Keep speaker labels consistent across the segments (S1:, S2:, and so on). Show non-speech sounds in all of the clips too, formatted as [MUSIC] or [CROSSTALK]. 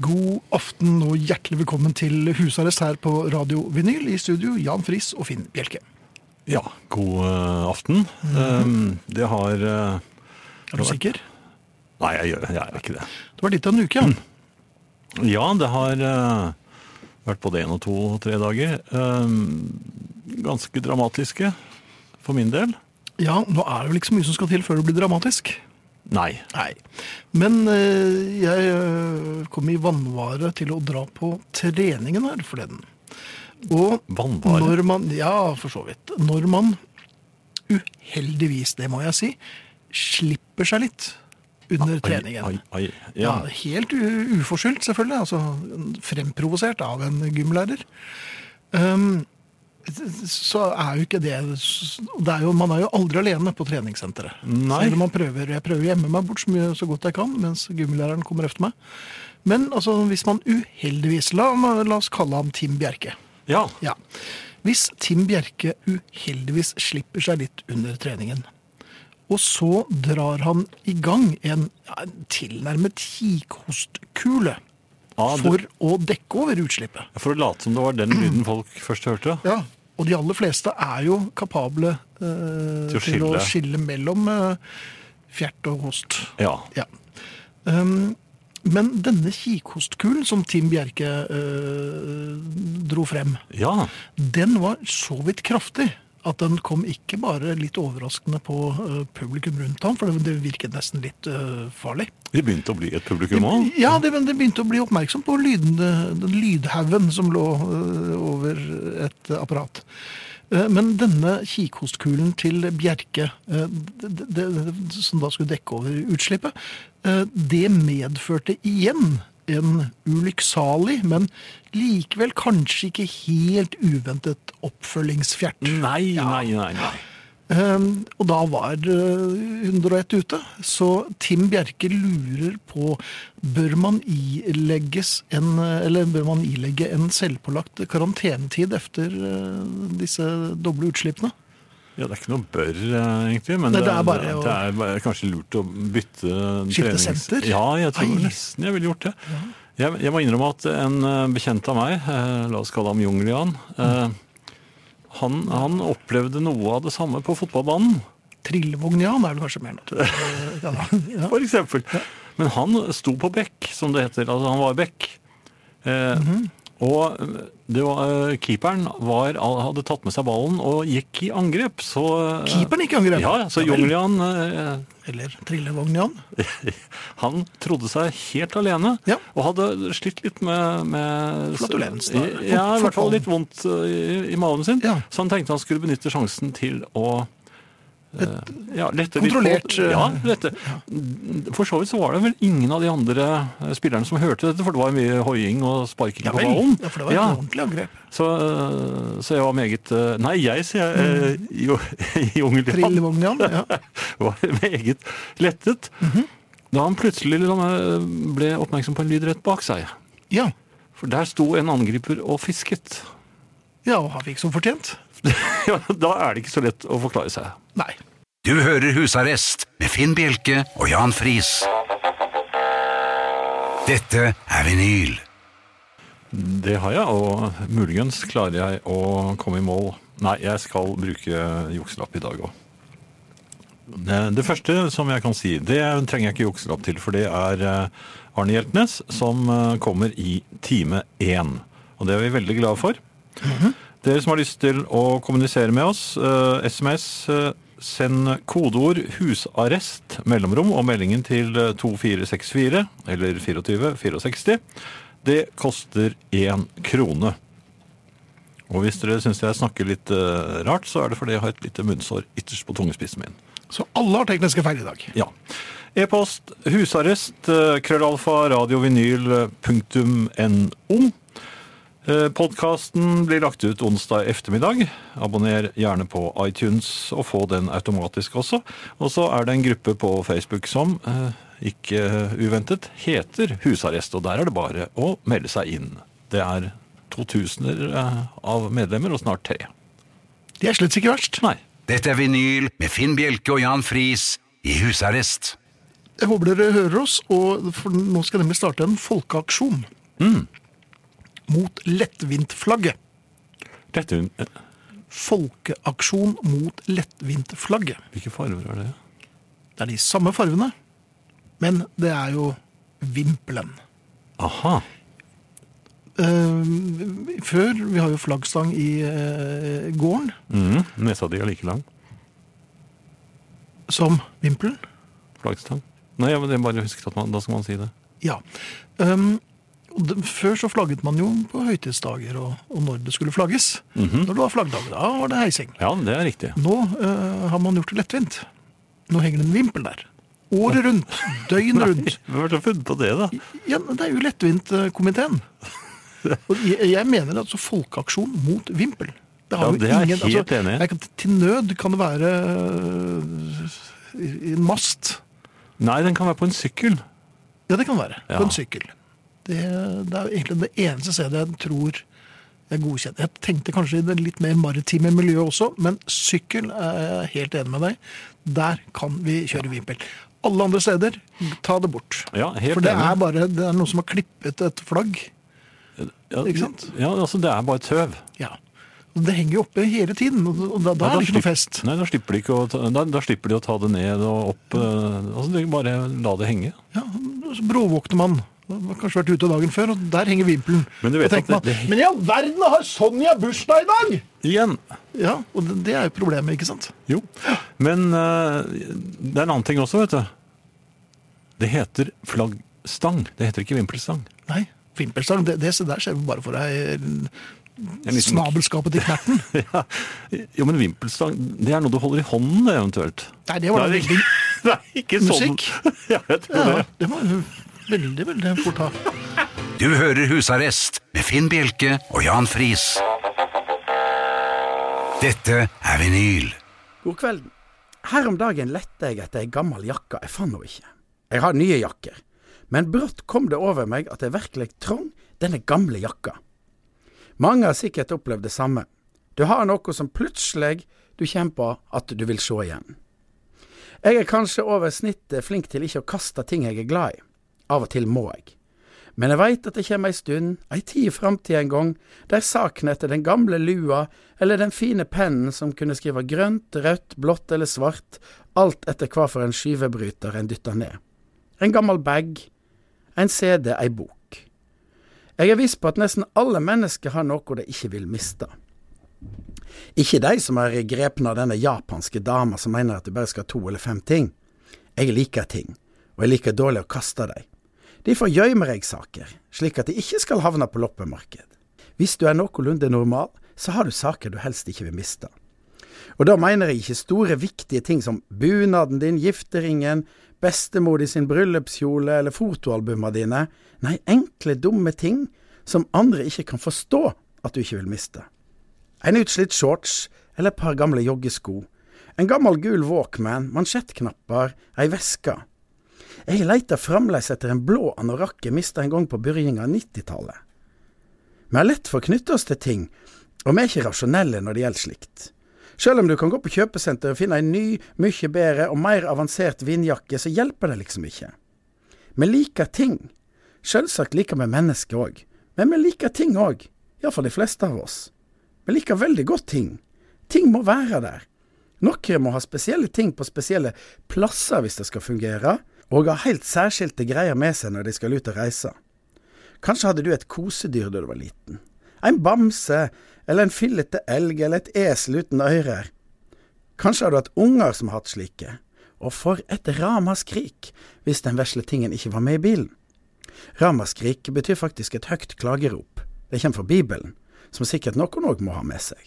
S1: God aften og hjertelig velkommen til husarrest her på Radio Vinyl. I studio Jan Friis og Finn Bjelke.
S2: Ja, god eh, aften. Eh, det har eh,
S1: Er du sikker?
S2: Nei, jeg, gjør- jeg er ikke det.
S1: Det var litt av en uke, Jan.
S2: Mm. Ja, det har eh, vært både én og to og tre dager. Eh, ganske dramatiske for min del.
S1: Ja, nå er det vel ikke så mye som skal til før det blir dramatisk.
S2: Nei.
S1: Nei. Men eh, jeg eh, kom i vannvare til å dra på treningen her forleden. Og
S2: Vannvare?
S1: når man Ja, for så vidt. Når man uheldigvis, det må jeg si, slipper seg litt under treningen.
S2: Ai, ai,
S1: Ja,
S2: ja.
S1: Helt u- uforskyldt, selvfølgelig. Altså fremprovosert av en gymlærer. Um, så er jo ikke det, det er jo, Man er jo aldri alene på treningssenteret.
S2: Nei.
S1: Selv om man prøver, Jeg prøver å gjemme meg bort så mye så godt jeg kan, mens gymlæreren kommer efter meg. Men altså, hvis man uheldigvis La, la oss kalle ham Tim Bjerke.
S2: ja.
S1: Ja. Hvis Tim Bjerke uheldigvis slipper seg litt under treningen, og så drar han i gang en, ja, en tilnærmet kikhostkule
S2: Ja, du-
S1: for å dekke over utslippet.
S2: For å late som det var den lyden folk først hørte.
S1: Ja. Og de aller fleste er jo kapable eh,
S2: Til å
S1: til, å skille. mellom eh, fjert og host.
S2: Ja.
S1: Ja. Um, men denne kikhostkulen som Tim Bjerke eh, dro frem,
S2: ja.
S1: Den var så vidt kraftig at den kom ikke bare litt overraskende på eh, publikum rundt ham, for det, det virket nesten litt eh, farlig.
S2: Det begynte å bli et publikum òg.
S1: Ja, det, men det begynte å bli oppmerksom på lydene, den lydhaugen som lå eh, over et apparat. Eh, Men denne kikhostkulen til Bjerke, eh, det, det, det- som da skulle dekke over utslippet, eh, det medførte igjen en ulykksalig, men likevel kanskje ikke helt uventet oppfølgingsfjert.
S2: Nei, nei, nei. nei.
S1: Um, og da var eh, 101 ute, så Tim Bjerke lurer på bør man ilegges en, eh, eller bør man ilegge en selvpålagt karantenetid etter eh, disse doble utslippene.
S2: Ja, Det er ikke noe bør, eh, egentlig, men
S1: Nei,
S2: det,
S1: det er bare
S2: det,
S1: å-
S2: det er bare kanskje lurt å bytte
S1: Skifte
S2: trenings-
S1: senter?
S2: Ja, jeg tror
S1: Ai.
S2: nesten jeg ville gjort det. Jeg, jeg må innrømme at en eh, bekjent av meg, eh, la oss kalle ham Junglian, eh, han, han opplevde noe av det samme på fotballbanen,
S1: Trillevognian er det kanskje mer naturlig. Ja, da. ja.
S2: for eksempel. Men han sto på bekk, som det heter. Altså, han var bekk. Eh,
S1: Mhm.
S2: Og det var, eh, keeperen var, hadde tatt med seg ballen og gikk i angrep, så eh,
S1: Keeperen ikke angrep.
S2: Ja, ja, så
S1: vel.
S2: Junglian eh,
S1: Eller trillevognian.
S2: Han trodde seg helt alene,
S1: Ja.
S2: og hadde slitt litt med, med
S1: Flatulens, da.
S2: Ja, i hvert fall
S1: Fotballen.
S2: litt vondt eh, i, i magen sin.
S1: Ja.
S2: Så han tenkte han skulle benytte sjansen til å eh, ja, lette litt på-
S1: Kontrollert, eh,
S2: Ja, lette. For så vidt så var det vel ingen av de andre eh, spillerne som hørte dette, for det var mye hoiing og sparking
S1: Ja
S2: på
S1: vel.
S2: ballen.
S1: Ja, for det var et
S2: Ja.
S1: ordentlig angrep.
S2: Så, eh, så jeg var meget eh, Nei, jeg, sier jeg.
S1: Mm.
S2: eh, Jo, [LAUGHS] Jungeljan
S1: Trillevognian, ja.
S2: var meget lettet. Da han plutselig la meg- ble oppmerksom på en lyd rett bak seg.
S1: ja.
S2: For der sto en angriper og fisket. [LAUGHS]
S1: Ja, og han fikk som fortjent.
S2: Ja, da er det ikke så lett å forklare seg.
S1: Nei.
S3: Du hører Husarrest med Finn Bjelke og Jan Friis. Dette er vinyl.
S2: Det har jeg, og muligens klarer jeg å komme i mål. Nei, jeg skal bruke jukselapp i dag òg. Det det første som jeg kan si, det trenger jeg ikke jukselapp til, for det er eh, Arne Hjeltnes som eh, kommer i time én. Og det er vi veldig glade for. Dere som har lyst til å kommunisere med oss, eh, SMS, eh, send kodeord 'husarrest' mellomrom og meldingen til eh, 2464 eller 2464. Det koster én krone. Og hvis dere syns jeg snakker litt eh, rart, så er det fordi jeg har et lite munnsår ytterst på tungespissen min.
S1: Så alle har tekniske feil i dag.
S2: Ja. E-post husarrest eh, krøllalfa radiovinyl.no. Podkasten Eh, blir lagt ut onsdag ettermiddag. Abonner gjerne på iTunes og få den automatisk også. Og så er det en gruppe på Facebook som, eh, ikke eh, uventet, heter Husarrest. Og der er det bare å melde seg inn. Det er 2000 av medlemmer, og snart tre.
S1: De er slett ikke verst.
S2: Nei.
S3: Dette er vinyl med Finn Bjelke og Jan Friis i husarrest.
S1: Jeg håper dere hører oss, og for nå skal jeg nemlig starte en folkeaksjon. Mot lettvintflagget.
S2: Dette,
S1: Folkeaksjon mot lettvintflagget.
S2: hvilke farger er det?
S1: Det er de samme farvene, men det er jo vimpelen.
S2: Aha.
S1: Eh, før, vi har jo flaggstang i eh, gården,
S2: Mm, nesa di er like lang.
S1: som vimpelen.
S2: Flaggstang. Nei, men jeg bare husket at man, da skal man si det.
S1: Ja. Ehm, og det- før så flagget man jo på høytidsdager og, og når det skulle flagges. Når det var flaggdag, da var det heising.
S2: Ja, det er riktig.
S1: Nå eh, har man gjort det lettvint. Nå henger det en vimpel der. Året rundt, døgnet rundt.
S2: [LAUGHS] Hvem har funnet på det, da?
S1: Ja, men det er jo lettvintkomiteen. Og jeg jeg mener altså folkeaksjon mot vimpel.
S2: Ja,
S1: jo altså,
S2: det er jeg helt enig i.
S1: jeg kan, Til nød kan det være øh, i en mast.
S2: Nei, den kan være på en sykkel.
S1: Ja, det kan være.
S2: Ja.
S1: På en sykkel. Det, det er jo egentlig det eneste stedet jeg tror jeg godkjenner. Jeg tenkte kanskje i det litt mer maritime miljøet også, men sykkel er jeg helt enig med deg. Der kan vi kjøre vimpel. Alle andre steder, ta det bort.
S2: Ja, helt
S1: For det
S2: enig.
S1: er bare det er noen som har klippet et flagg.
S2: Ja,
S1: Ikke sant?
S2: Ja, altså, det er bare tøv.
S1: Ja. Og Det henger jo oppe hele tiden, og og da, da er det ikke
S2: slipper-
S1: noe fest.
S2: Nei, da slipper, de ikke å ta, da, da slipper de å ta det ned og opp. eh, Altså, de bare la det henge.
S1: Ja, så Bråvåkner man. Man har Kanskje vært ute dagen før, og der henger vimpelen.
S2: Men du vet
S1: Da tenker
S2: at det-
S1: man,
S2: det-
S1: Men i all verden har Sonja bursdag i dag!
S2: Igjen!
S1: Ja, og det, det er jo problemet, ikke sant?
S2: Jo. Men eh, det er en annen ting også, vet du. Det heter flaggstang. Det heter ikke vimpelstang.
S1: Nei, vimpelstang, det, det der ser vi bare for deg eh,
S2: En liten-
S1: snabelskapet i knerten.
S2: Ja. Jo, men vimpelstang, det er noe du holder i hånden, det, eventuelt.
S1: Nei, det var da
S2: Nei,
S1: veldig
S2: [LAUGHS] Det er ikke sånn.
S1: Musikk?
S2: [LAUGHS] Ja, jeg tror
S1: ja,
S2: det.
S1: Det må du veldig, veldig fort ha.
S3: Du hører Husarrest med Finn Bjelke og Jan Friis. Dette er vinyl.
S4: God kvelden. Her om dagen lette jeg etter ei gammel jakke jeg fant henne ikke. Jeg har nye jakker, men brått kom det over meg at jeg virkelig trong denne gamle jakka. Mange har sikkert opplevd det samme. Du har noe som plutselig du kommer på at du vil se igjen. Jeg er kanskje over snittet flink til ikke å kaste ting jeg er glad i. Av og til må jeg. Men jeg veit at det kommer ei stund, ei tid i framtida en gang, der saken etter den gamle lua eller den fine pennen som kunne skrive grønt, rødt, blått eller svart, alt etter hva for en skyvebryter en dytta ned. En gammel bag, en CD, ei bok. Jeg er viss på at nesten alle mennesker har noe de ikke vil miste. Ikke de som er grepne av denne japanske dama som mener at du bare skal ha to eller fem ting. Jeg liker ting, og jeg liker dårlig å kaste dem. Derfor gjemmer jeg saker, slik at de ikke skal havne på loppemarked. Hvis du er noenlunde normal, så har du saker du helst ikke vil miste. Og da mener jeg ikke store, viktige ting som bunaden din, gifteringen, bestemor di sin bryllupskjole eller fotoalbumene dine. Nei, enkle, dumme ting som andre ikke kan forstå at du ikke vil miste. En utslitt shorts eller et par gamle joggesko. En gammel gul Walkman, mansjettknapper, ei veske. Jeg leiter fremdeles etter en blå anorakk jeg mista en gang på begynnelsen av 90-tallet. Vi har lett for å knytte oss til ting, og vi er ikke rasjonelle når det gjelder slikt. Selv om du kan gå på kjøpesenter og finne en ny, mye bedre og mer avansert vindjakke, så hjelper det liksom ikke. Vi liker ting. Selvsagt liker vi mennesker òg, men vi liker ting òg, iallfall de fleste av oss. Vi liker veldig godt ting. Ting må være der. Noen må ha spesielle ting på spesielle plasser hvis det skal fungere, og ha helt særskilte greier med seg når de skal ut og reise. Kanskje hadde du et kosedyr da du var liten. En bamse, eller en fillete elg, eller et esel uten ører. Kanskje har du hatt unger som har hatt slike. Og for et ramaskrik hvis den vesle tingen ikke var med i bilen. Ramaskrik betyr faktisk et høyt klagerop. Det kommer fra Bibelen, som sikkert noen òg må ha med seg.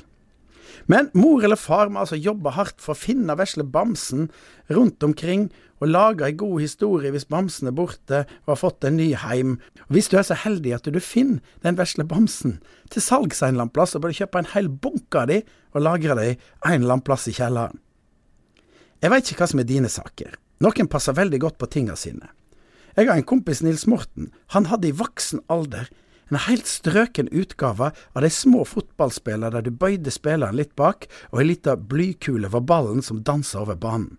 S4: Men mor eller far må altså jobbe hardt for å finne vesle bamsen rundt omkring, og og laga ei god historie hvis bamsen er borte og har fått en ny heim. Og hvis du er så heldig at du finner den vesle bamsen til salgs en eller annen plass, så bør du kjøpe en hel bunke av de og lagre de en eller annen plass i kjelleren. Jeg veit ikke hva som er dine saker. Noen passer veldig godt på tinga sine. Jeg har en kompis, Nils Morten. Han hadde i voksen alder en helt strøken utgave av de små fotballspillene der du bøyde spilleren litt bak, og ei lita blykule var ballen som dansa over banen.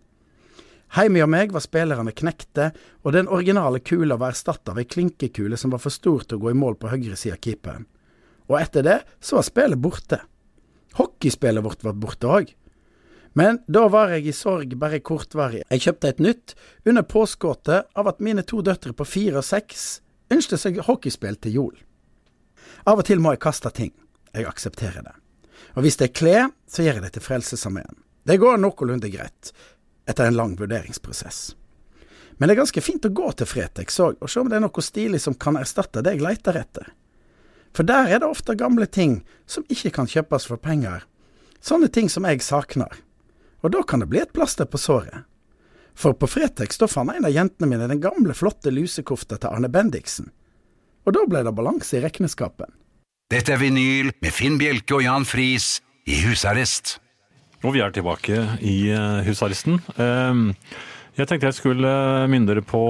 S4: Heime hos meg var spillerne knekte, og den originale kula var erstatta av ei klinkekule som var for stor til å gå i mål på høyre side av keeperen. Og etter det så var spillet borte. Hockeyspillet vårt var borte òg. Men da var jeg i sorg bare kortvarig. Jeg kjøpte et nytt, under påskuddet av at mine to døtre på fire og seks ønsket seg hockeyspill til jul. Av og til må jeg kaste ting. Jeg aksepterer det. Og hvis det er klær, så gjør jeg det til Frelsesarmeen. Det går noenlunde greit, etter en lang vurderingsprosess. Men det er ganske fint å gå til Fretex òg, og se om det er noe stilig som kan erstatte det jeg leter etter. For der er det ofte gamle ting som ikke kan kjøpes for penger. Sånne ting som jeg savner. Og da kan det bli et plaster på såret. For på Fretex da fant en av jentene mine den gamle, flotte lusekofta til Arne Bendiksen. Og da ble det balanse i regnskapen.
S3: Dette er vinyl med Finn Bjelke og Jan Friis i husarrest.
S2: Og vi er tilbake i eh, husarresten. Ehm, Jeg tenkte jeg skulle minne dere på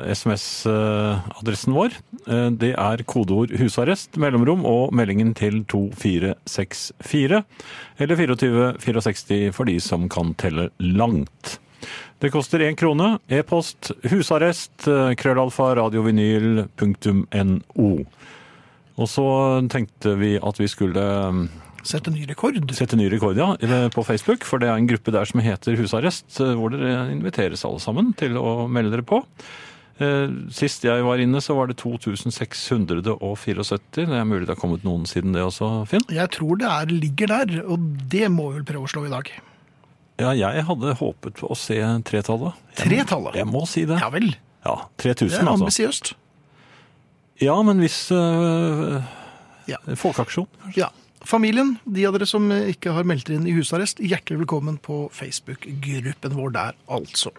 S2: eh, SMS-adressen vår. Eh, Det er kodeord 'husarrest', mellomrom og meldingen til 2464. Eller 2464 for de som kan telle langt. Det koster én krone. E-post husarrest eh, krøllalfa radiovinyl.no. Og så tenkte vi at vi skulle eh,
S1: Sette ny rekord.
S2: sette ny rekord ja, i- på Facebook, for det er en gruppe der som heter Husarrest, eh, hvor dere inviteres alle sammen til å melde dere på. Eh, Sist jeg var inne, så var det 2674. Det er mulig det har kommet noen siden det også, Finn?
S1: Jeg tror det er, ligger der, og det må vi vel prøve å slå i dag.
S2: Ja, jeg hadde håpet på å se tretallet. Jeg må-
S1: Tretallet?
S2: Jeg må si det.
S1: Ja vel.
S2: Ja,
S1: Det
S2: 3000,
S1: er
S2: altså.
S1: ambisiøst.
S2: Ja, men hvis øh,
S1: Ja.
S2: Folkeaksjon.
S1: Ja. Familien, de av dere som ikke har meldt dere inn i husarrest, hjertelig velkommen på Facebook-gruppen vår der, altså.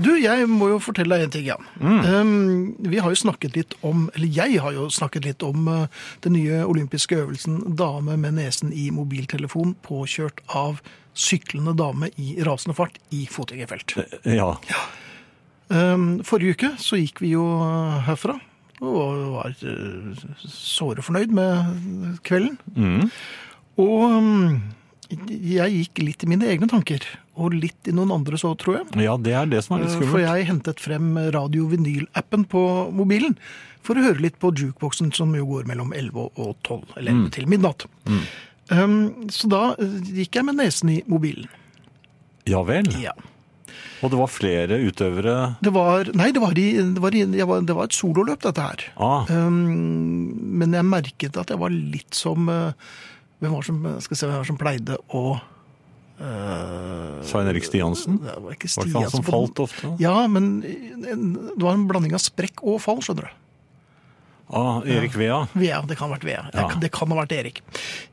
S1: Du, jeg må jo fortelle deg en ting, Jan. Um, vi har jo snakket litt om, eller jeg har jo snakket litt om uh, den nye olympiske øvelsen Dame med nesen i mobiltelefon, påkjørt av syklende dame i rasende fart i fotgjengerfelt.
S2: Eh, Ja.
S1: Um, Forrige uke så gikk vi jo uh, herfra og var uh, såre fornøyd med kvelden.
S2: Mm.
S1: Og um, jeg gikk litt i mine egne tanker, og litt i noen andre så, tror jeg.
S2: ja, det er det som er litt
S1: Uh, For
S2: skummelt.
S1: jeg hentet frem radio-vinyl-appen på mobilen for å høre litt på jukeboksen som jo går mellom 11 og 12, eller
S2: Mm.
S1: 11 til midnatt. Um, så da uh, gikk jeg med nesen i mobilen.
S2: Ja vel.
S1: Ja.
S2: Og det var flere utøvere
S1: Det var, nei, det var, i, det, var i, jeg var, det var et sololøp, dette her.
S2: Ah,
S1: Um, men jeg merket at jeg var litt som eh, Hvem var det som, skal vi se, hvem var det som pleide å eh,
S2: Svein Erik Stiansen.
S1: Det var ikke
S2: Var det ikke han
S1: Stiansen
S2: som
S1: på den-
S2: falt ofte?
S1: Ja, men en- det var en blanding av sprekk og fall, skjønner du.
S2: Ah, Erik Vea.
S1: Vea, det kan ha vært Vea. Jeg-
S2: Ja.
S1: Det kan ha vært Erik.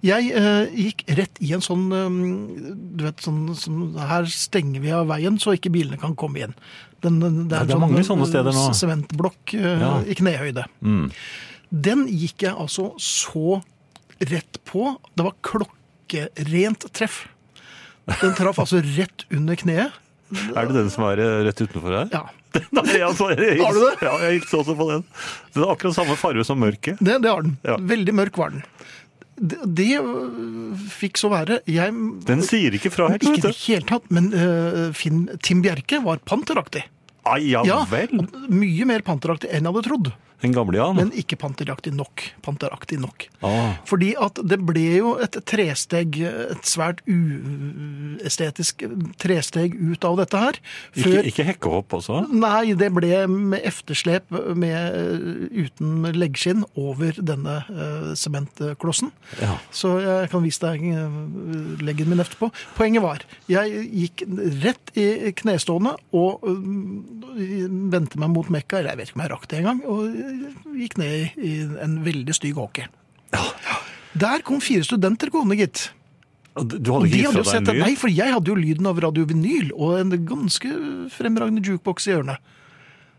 S1: Jeg eh, gikk rett i en sånn eh, Du vet, sånn, sånn Her stenger vi av veien så ikke bilene kan komme igjen. Den, den,
S2: Ja, det er mange sånne steder nå.
S1: s- Sementblokk eh,
S2: Ja. Mm.
S1: i knehøyde. Den gikk jeg altså så rett på. Det var klokkerent treff. Den traff altså rett under kneet.
S2: Er det den som er eh, rett utenfor [LAUGHS] her?
S1: Ja,
S2: Nei, altså, jeg,
S1: Har du det?
S2: Ja, jeg hilste også på den. Den er akkurat samme farge som mørket.
S1: Det, det har den.
S2: Ja.
S1: Veldig mørk var den. Det, det øh, fikk så være. Jeg
S2: Den sier ikke fra helt,
S1: Ikke i
S2: vet
S1: det
S2: du.
S1: hele tatt, men øh, Finn, Tim Bjerke var panteraktig.
S2: Ai, ja,
S1: Ja,
S2: vel.
S1: og mye mer panteraktig enn jeg hadde trodd,
S2: Den gamle, ja.
S1: men ikke panteraktig nok. Panteraktig nok.
S2: Ah,
S1: Fordi at det ble jo et tresteg, et svært uestetisk tresteg ut av dette her.
S2: ikke, ikke hekkehopp også?
S1: Nei, det ble med efterslep med, eh, uten leggskinn over denne eh, sementklossen.
S2: Ja.
S1: Så jeg kan vise deg eh, leggen min etterpå. Poenget var, jeg gikk rett i knestående og eh, vendte meg mot Mekka, eller jeg vet ikke om jeg rakk det engang, og eh, gikk ned i- i en veldig stygg åker. Der kom fire studenter gående, gitt.
S2: Ah, Du
S1: Og
S2: hadde
S1: de
S2: ikke
S1: hadde
S2: gitt
S1: jo
S2: fra
S1: sett
S2: deg
S1: det.
S2: en
S1: Nei,
S2: lyd?
S1: for jeg hadde jo lyden av radiovinyl og en ganske fremragende jukebox i hjørnet.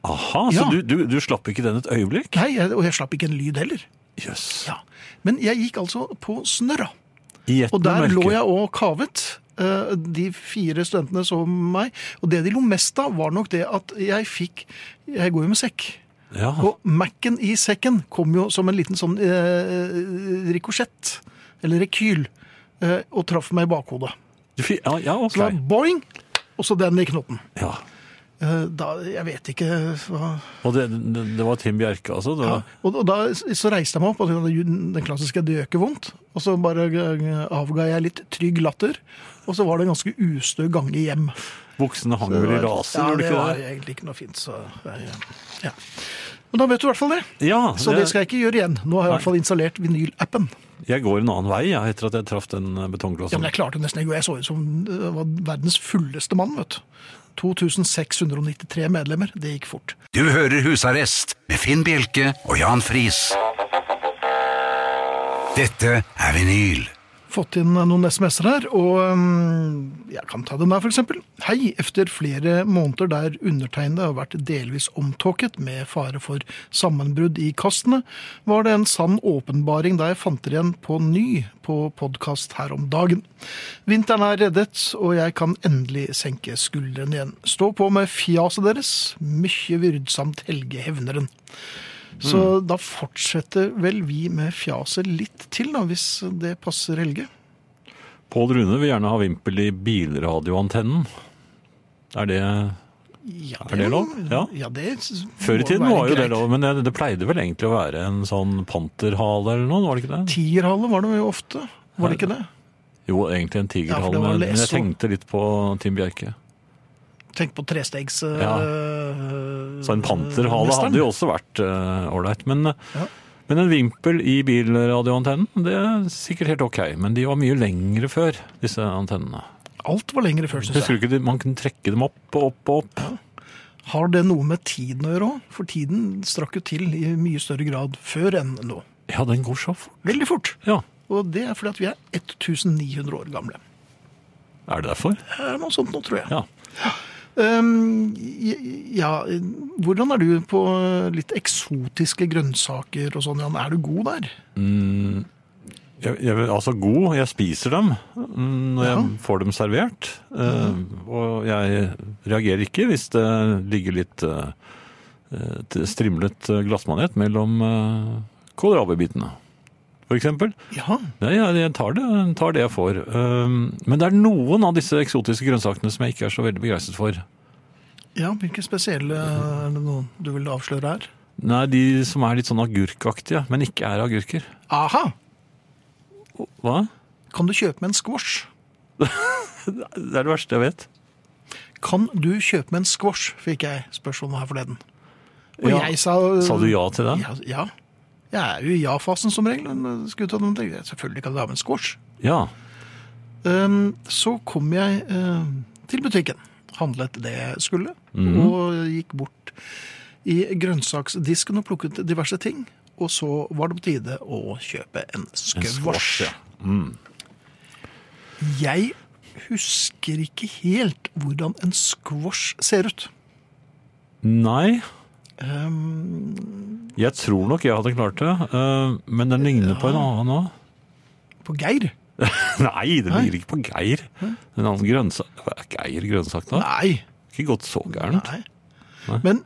S2: Aha, så
S1: Ja.
S2: du, du, du slapp ikke den et øyeblikk?
S1: Nei, jeg, og jeg slapp ikke en lyd heller.
S2: Jøss.
S1: Ja. Men jeg gikk altså på snørra.
S2: I ett
S1: Og der lå
S2: mørke.
S1: jeg og kavet. Eh, De fire studentene så meg. Og det de lo mest av, var nok det at jeg fikk Jeg går jo med sekk.
S2: Ja.
S1: Og Mac-en i sekken kom jo som en liten sånn eh, rikosjett. Eller rekyl. Eh, og traff meg i bakhodet.
S2: Du fi- Ja, ja,
S1: Så det var
S2: ok.
S1: boing, og så den i knotten.
S2: Ja.
S1: Eh, da, jeg vet ikke hva
S2: Og det, det, det var Tim Bjerke, altså? Det
S1: Ja.
S2: var,
S1: Og, og da så reiste jeg meg opp, og tenkte, den klassiske 'det gjør ikke vondt'. Og så bare eh, avga jeg litt trygg latter, og så var det en ganske ustø gange hjem.
S2: Buksene hang vel i raser,
S1: ja,
S2: gjorde
S1: det
S2: de ikke
S1: var
S2: det?
S1: egentlig ikke noe fint, så jeg, ja. Men da vet du i hvert fall det.
S2: Ja,
S1: Så det skal jeg ikke gjøre igjen. Nå har jeg i
S2: Nei.
S1: hvert fall installert vinylappen.
S2: Jeg går en annen vei ja, etter at jeg traff den eh,
S1: Ja,
S2: betongklossen.
S1: men jeg klarte nesten ikke, og jeg så ut som eh, var verdens fulleste mann, vet du. 2693 medlemmer, det gikk fort.
S3: Du hører Husarrest med Finn Bjelke og Jan Friis. Dette er vinyl.
S1: fått inn noen SMS-er her, og øhm, jeg kan ta den her for eksempel. Hei, efter flere måneder der undertegnede har vært delvis omtåket med fare for sammenbrudd i kastene, var det en sann åpenbaring da jeg fant dere igjen på ny på podcast her om dagen. Vinteren er reddet, og jeg kan endelig senke skuldrene igjen. Stå på med fjaset deres, mykje vyrdsamt helgehevneren. Så da fortsetter vel vi med fjaset litt til, da, hvis det passer Helge.
S2: Pål Rune vil gjerne ha vimpel i bilradioantennen. Er det
S1: Ja,
S2: Er det lov? Ja.
S1: det
S2: Før i
S1: må
S2: tiden
S1: være
S2: var jo det
S1: greit.
S2: lov, men det, det pleide vel egentlig å være en sånn panterhale eller noe, var det ikke det?
S1: Tierhale var det jo ofte, var det ikke det?
S2: Jo, egentlig en
S1: Ja, for
S2: tigerhale,
S1: det var
S2: men
S1: vel
S2: men jeg
S1: SO.
S2: tenkte litt på Tim Bjerke.
S1: Tenk på trestegs...
S2: Ja.
S1: øh,
S2: Så en panterhale
S1: mesteren.
S2: hadde jo også vært eh, ålreit. men,
S1: Ja.
S2: men en vimpel i bilradioantennen, det er sikkert helt ok. Men de var mye lengre før, disse antennene.
S1: Alt var lengre før, syns
S2: Husker
S1: jeg.
S2: du ikke, de- man kunne trekke dem opp og opp og opp?
S1: Har det noe med tiden å gjøre òg? For tiden strakk jo til i mye større grad før enn nå.
S2: Ja, den går så fort.
S1: Veldig fort.
S2: Ja,
S1: Og det er fordi at vi er 1900 år gamle.
S2: er det derfor?
S1: Det er noe sånt nå, tror jeg.
S2: Ja.
S1: Ehm, j- ja, hvordan er du på eh, litt eksotiske grønnsaker og sånn, Jan? Er du god der?
S2: Jeg, jeg, altså god, jeg spiser dem mm, når jeg får dem servert. Eh, og jeg reagerer ikke hvis det ligger litt eh, eh, t- strimlet eh, glassmanet mellom uh, kålrabibitene, for eksempel.
S1: Ja.
S2: Nei, jeg, jeg tar, det, tar det jeg får. Eh, men det er noen av disse eksotiske grønnsakene som jeg ikke er så veldig begeistret for.
S1: ja hvilke spesielle eh, er det noen du vil avsløre her?
S2: Nei, de som er litt sånn agurkaktige, men ikke er agurker.
S1: Aha!
S2: Hva?
S1: Kan du kjøpe med en squash?
S2: Det er det verste jeg vet.
S1: Kan du kjøpe med en squash, fikk jeg spørsmål om her forleden. Og
S2: Ja.
S1: jeg sa eh,
S2: Sa du ja til det?
S1: Ja. ja. Jeg er jo i ja-fasen som regel. men eh, skulle ta noen ting. Selvfølgelig kan du ha med en squash.
S2: Ja.
S1: Ehm, så kom jeg ehm, til butikken, handlet det jeg skulle, og gikk bort i grønnsaksdisken og plukket diverse ting. Og så var det på tide å kjøpe en
S2: En squash,
S1: squash.
S2: ja.
S1: Jeg husker ikke helt hvordan en squash ser ut.
S2: Nei.
S1: Ehm,
S2: Jeg tror nok jeg hadde klart det, eh, men den ligner på en annen òg.
S1: på Geir?
S2: [LAUGHS] Nei, den ligner ikke på Geir. En annen grønnsak Er Geir grønnsak da?
S1: Nei.
S2: Ikke gått så gærent.
S1: Nei. Men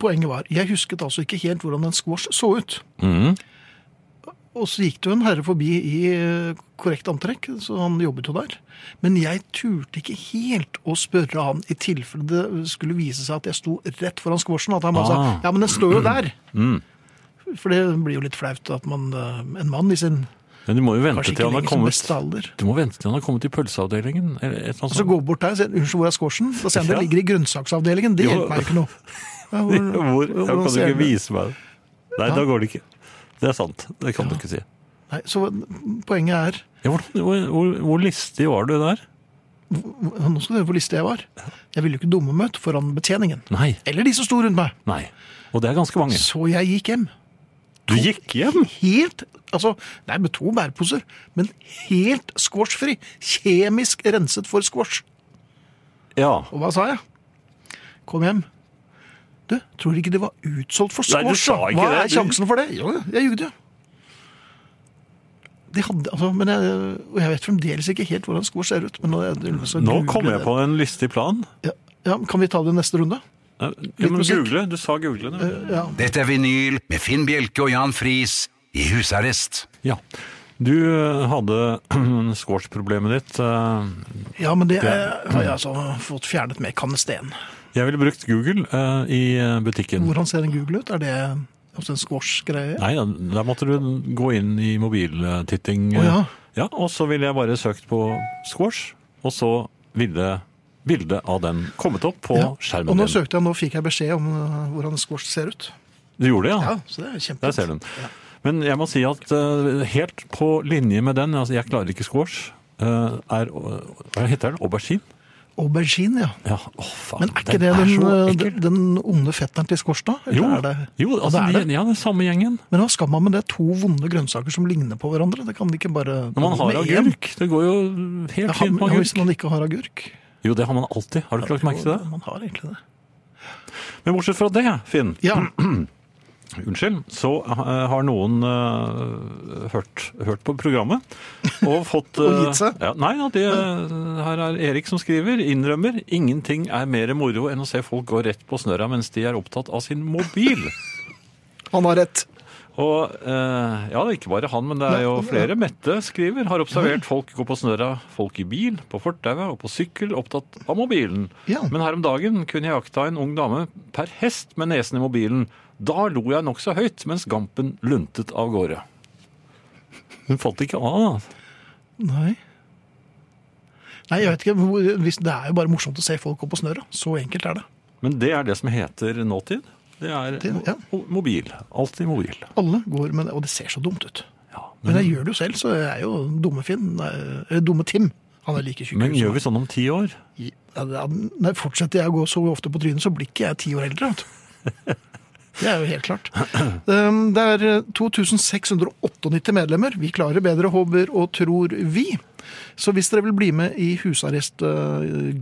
S1: poenget var, jeg husket altså ikke helt hvordan en squash så ut.
S2: Mhm.
S1: Og så gikk det jo en herre forbi i eh, korrekt antrekk, så han jobbet jo der. Men jeg turte ikke helt å spørre han i tilfelle det skulle vise seg at jeg sto rett foran squashen, at han bare sa
S2: Ah. Mm.
S1: ja, men den står jo
S2: [CLEARS THROAT]
S1: der. For det blir jo litt flaut at man, eh, en mann i sin
S2: Men du må jo vente
S1: kanskje ikke
S2: til han har
S1: lenger som
S2: kommet
S1: beste alder.
S2: Du må vente til han har kommet i pølseavdelingen. Eller et eller annet
S1: Så
S2: sånt.
S1: gå bort der og si 'unnskyld, hvor er squashen?' Da sier han det
S2: Ja.
S1: ligger i grønnsaksavdelingen. Det
S2: Jo.
S1: hjelper meg jo ikke
S2: [LAUGHS]
S1: noe. Ja, hvor-
S2: Hvor, ja,
S1: hvordan
S2: kan du
S1: ser
S2: ikke
S1: den?
S2: vise meg det? Nei, da går det ikke. Det er sant. Det kan du ikke si.
S1: Nei, så poenget er
S2: Ja, hvor, hvor, hvor, hvor listig var du der?
S1: Nå skal du høre hvor listig jeg var. Jeg ville jo ikke dumme møtt foran betjeningen.
S2: Nei.
S1: Eller de som sto rundt meg.
S2: Nei. Og det er ganske mange.
S1: Så jeg gikk hjem.
S2: Du gikk hjem?
S1: Helt, altså, nei, med to bærposer, men helt squashfri. Kjemisk renset for squash.
S2: Ja.
S1: Og hva sa jeg? Kom hjem. Du, tror du ikke det var utsolgt for
S2: Nei,
S1: squash?
S2: du sa
S1: da?
S2: ikke
S1: hva
S2: det.
S1: er sjansen for det? Jo, jeg jugde jo. De hadde, altså, men jeg, og jeg vet fremdeles ikke helt hvordan squash ser ut. Men nå, jeg, så
S2: Nå
S1: googler
S2: kom jeg på en lystig plan. Eh,
S1: Ja, ja, men Kan vi ta det i neste runde?
S2: Ja, men
S1: musikk.
S2: google. Du sa google. det.
S1: Ja.
S3: Dette er vinyl med Finn Bjelke og Jan Friis i husarrest.
S2: Ja. Du eh, hadde [CLEARS THROAT] squash-problemet ditt. eh,
S1: Ja, men det eh, har jeg altså fått fjernet med kannesten.
S2: Jeg ville brukt Google eh, i butikken.
S1: Hvordan ser en Google ut? Er det altså en squash-greie?
S2: Nei, da- der måtte du gå inn i mobiltitting. eh,
S1: Å, ja.
S2: ja, og så ville jeg bare søkt på squash, og så ville bildet av den kommet opp på
S1: Ja, Og
S2: skjermen
S1: nå
S2: din.
S1: søkte jeg, nå fikk jeg beskjed om eh, hvordan squash ser ut.
S2: Du gjorde det, ja?
S1: Ja, så det er
S2: Der
S1: kjempefint.
S2: ser du den. Men jeg må si at eh, helt på linje med den, altså jeg klarer ikke squash, eh, er Hva heter den? Aubergine?
S1: Aubergine, ja.
S2: Ja, å faen.
S1: Men er ikke det den,
S2: så
S1: eh,
S2: ekkel.
S1: den, onde fetteren til squash, da? Eller
S2: Jo,
S1: er det?
S2: jo
S1: Ja,
S2: altså,
S1: det er
S2: de, ja, den samme gjengen.
S1: Men hva skal man med det? To vonde grønnsaker som ligner på hverandre? Det kan de ikke bare
S2: Når man har
S1: med én.
S2: agurk. Det går jo helt
S1: Ja, ha-
S2: fint med
S1: ja, hvis
S2: agurk.
S1: man ikke har agurk.
S2: Jo, det har man alltid. Har du ikke lagt merke til det?
S1: Man har egentlig det.
S2: Men bortsett fra det, Finn,
S1: Ja,
S2: unnskyld, så eh, har noen eh, hørt, hørt på programmet [LAUGHS] og fått
S1: Og
S2: eh,
S1: gitt seg.
S2: Ja, nei, ja, det, eh, her er Erik som skriver, innrømmer, ingenting er mer moro enn å se folk gå rett på snørra mens de er opptatt av sin mobil.
S1: han har rett.
S2: Og eh, ja, det er ikke bare han, men det er jo flere. Mette skriver har observert folk gå på snørra, folk i bil, på fortauet og på sykkel, opptatt av mobilen.
S1: Ja.
S2: Men her om dagen kunne jeg jakta en ung dame per hest med nesen i mobilen. Da lo jeg nokså høyt mens gampen luntet av gårde. Hun falt ikke av. da.
S1: Nei. Nei, jeg vet ikke. hvor- Hvis det er jo bare morsomt å se folk gå på snørra. Så enkelt er det.
S2: Men det er det som heter nåtid. Det er
S1: Det- ja.
S2: mo- mobil. Alltid mobil.
S1: Alle går med det, og det ser så dumt ut.
S2: Ja.
S1: Men
S2: Men,
S1: jeg gjør det jo selv, så jeg er jo dumme Finn. Nei, eller dumme Tim. Han er like tjukk.
S2: men
S1: som
S2: gjør vi sånn om ti år?
S1: meg. Ja, det er- Nei, fortsetter jeg å gå så ofte på trynet, så blir ikke jeg ti år eldre. vet du.
S2: [LAUGHS]
S1: Det er jo helt klart. Um, Det er 2698 medlemmer. Vi klarer bedre, håper og tror vi. Så hvis dere vil bli med i husarrestgruppen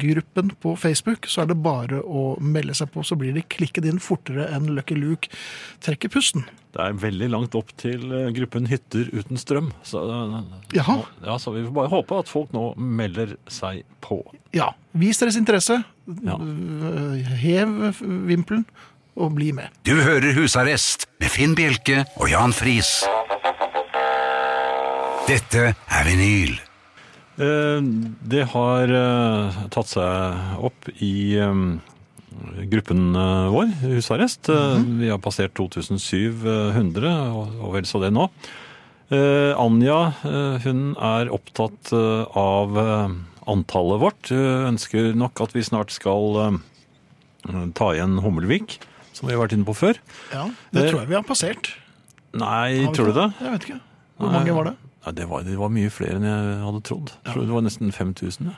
S1: på Facebook, så er det bare å melde seg på, så blir det klikket inn fortere enn Lucky Luke trekker pusten.
S2: Det er veldig langt opp til eh, gruppen hytter uten strøm. Så, eh,
S1: Jaha.
S2: nå- Ja, så vi får bare håpe at folk nå melder seg på.
S1: Ja, vis deres interesse.
S2: Ja.
S1: Øh, Hev vimpelen og bli med.
S3: Du hører Husarrest med Finn Bjelke og Jan Friis. Dette er vinyl.
S2: Eh, Det har eh, tatt seg opp i eh, gruppen eh, vår, husarrest. Eh, Vi har passert 2700, og og vel så det nå. Eh, Anja eh, hun er opptatt eh, av eh, antallet vårt. Hun ønsker nok at vi snart skal eh, ta igjen Hummelvik, som vi har vært inne på før.
S1: Ja, Det tror jeg vi har passert.
S2: Nei,
S1: Har vi
S2: tror du det?
S1: Jeg vet ikke. Hvor
S2: Nei.
S1: mange var det?
S2: Ja, det, var, det var mye flere enn jeg hadde trodd. Jeg tror det var nesten 5000. Ja.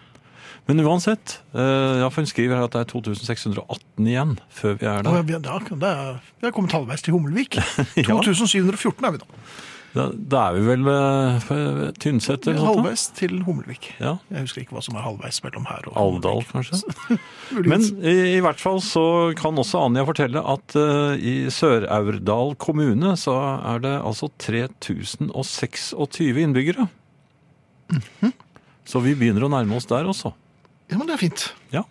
S2: Men uansett, eh, ja, for hun skriver her at det er 2618 igjen før vi er
S1: Å, ja,
S2: der.
S1: vi, ja, det er, vi har kommet halvveis til Hummelvik.
S2: [LAUGHS] Ja.
S1: 2714 er vi nå.
S2: Da, da er vi vel eh, på Tynset
S1: Vi er
S2: eller noe sånt?
S1: halvveis til Hummelvik.
S2: da? Ja.
S1: Jeg husker ikke hva som er halvveis mellom her og
S2: Alvdal,
S1: [LAUGHS]
S2: kanskje? Men
S1: Muligens.
S2: i, i hvert fall så kan også Anja fortelle at eh, i Sør-Aurdal kommune så er det altså 3026 innbyggere.
S1: Mhm.
S2: Så vi begynner å nærme oss der også.
S1: Ja, men det er fint.
S2: Ja.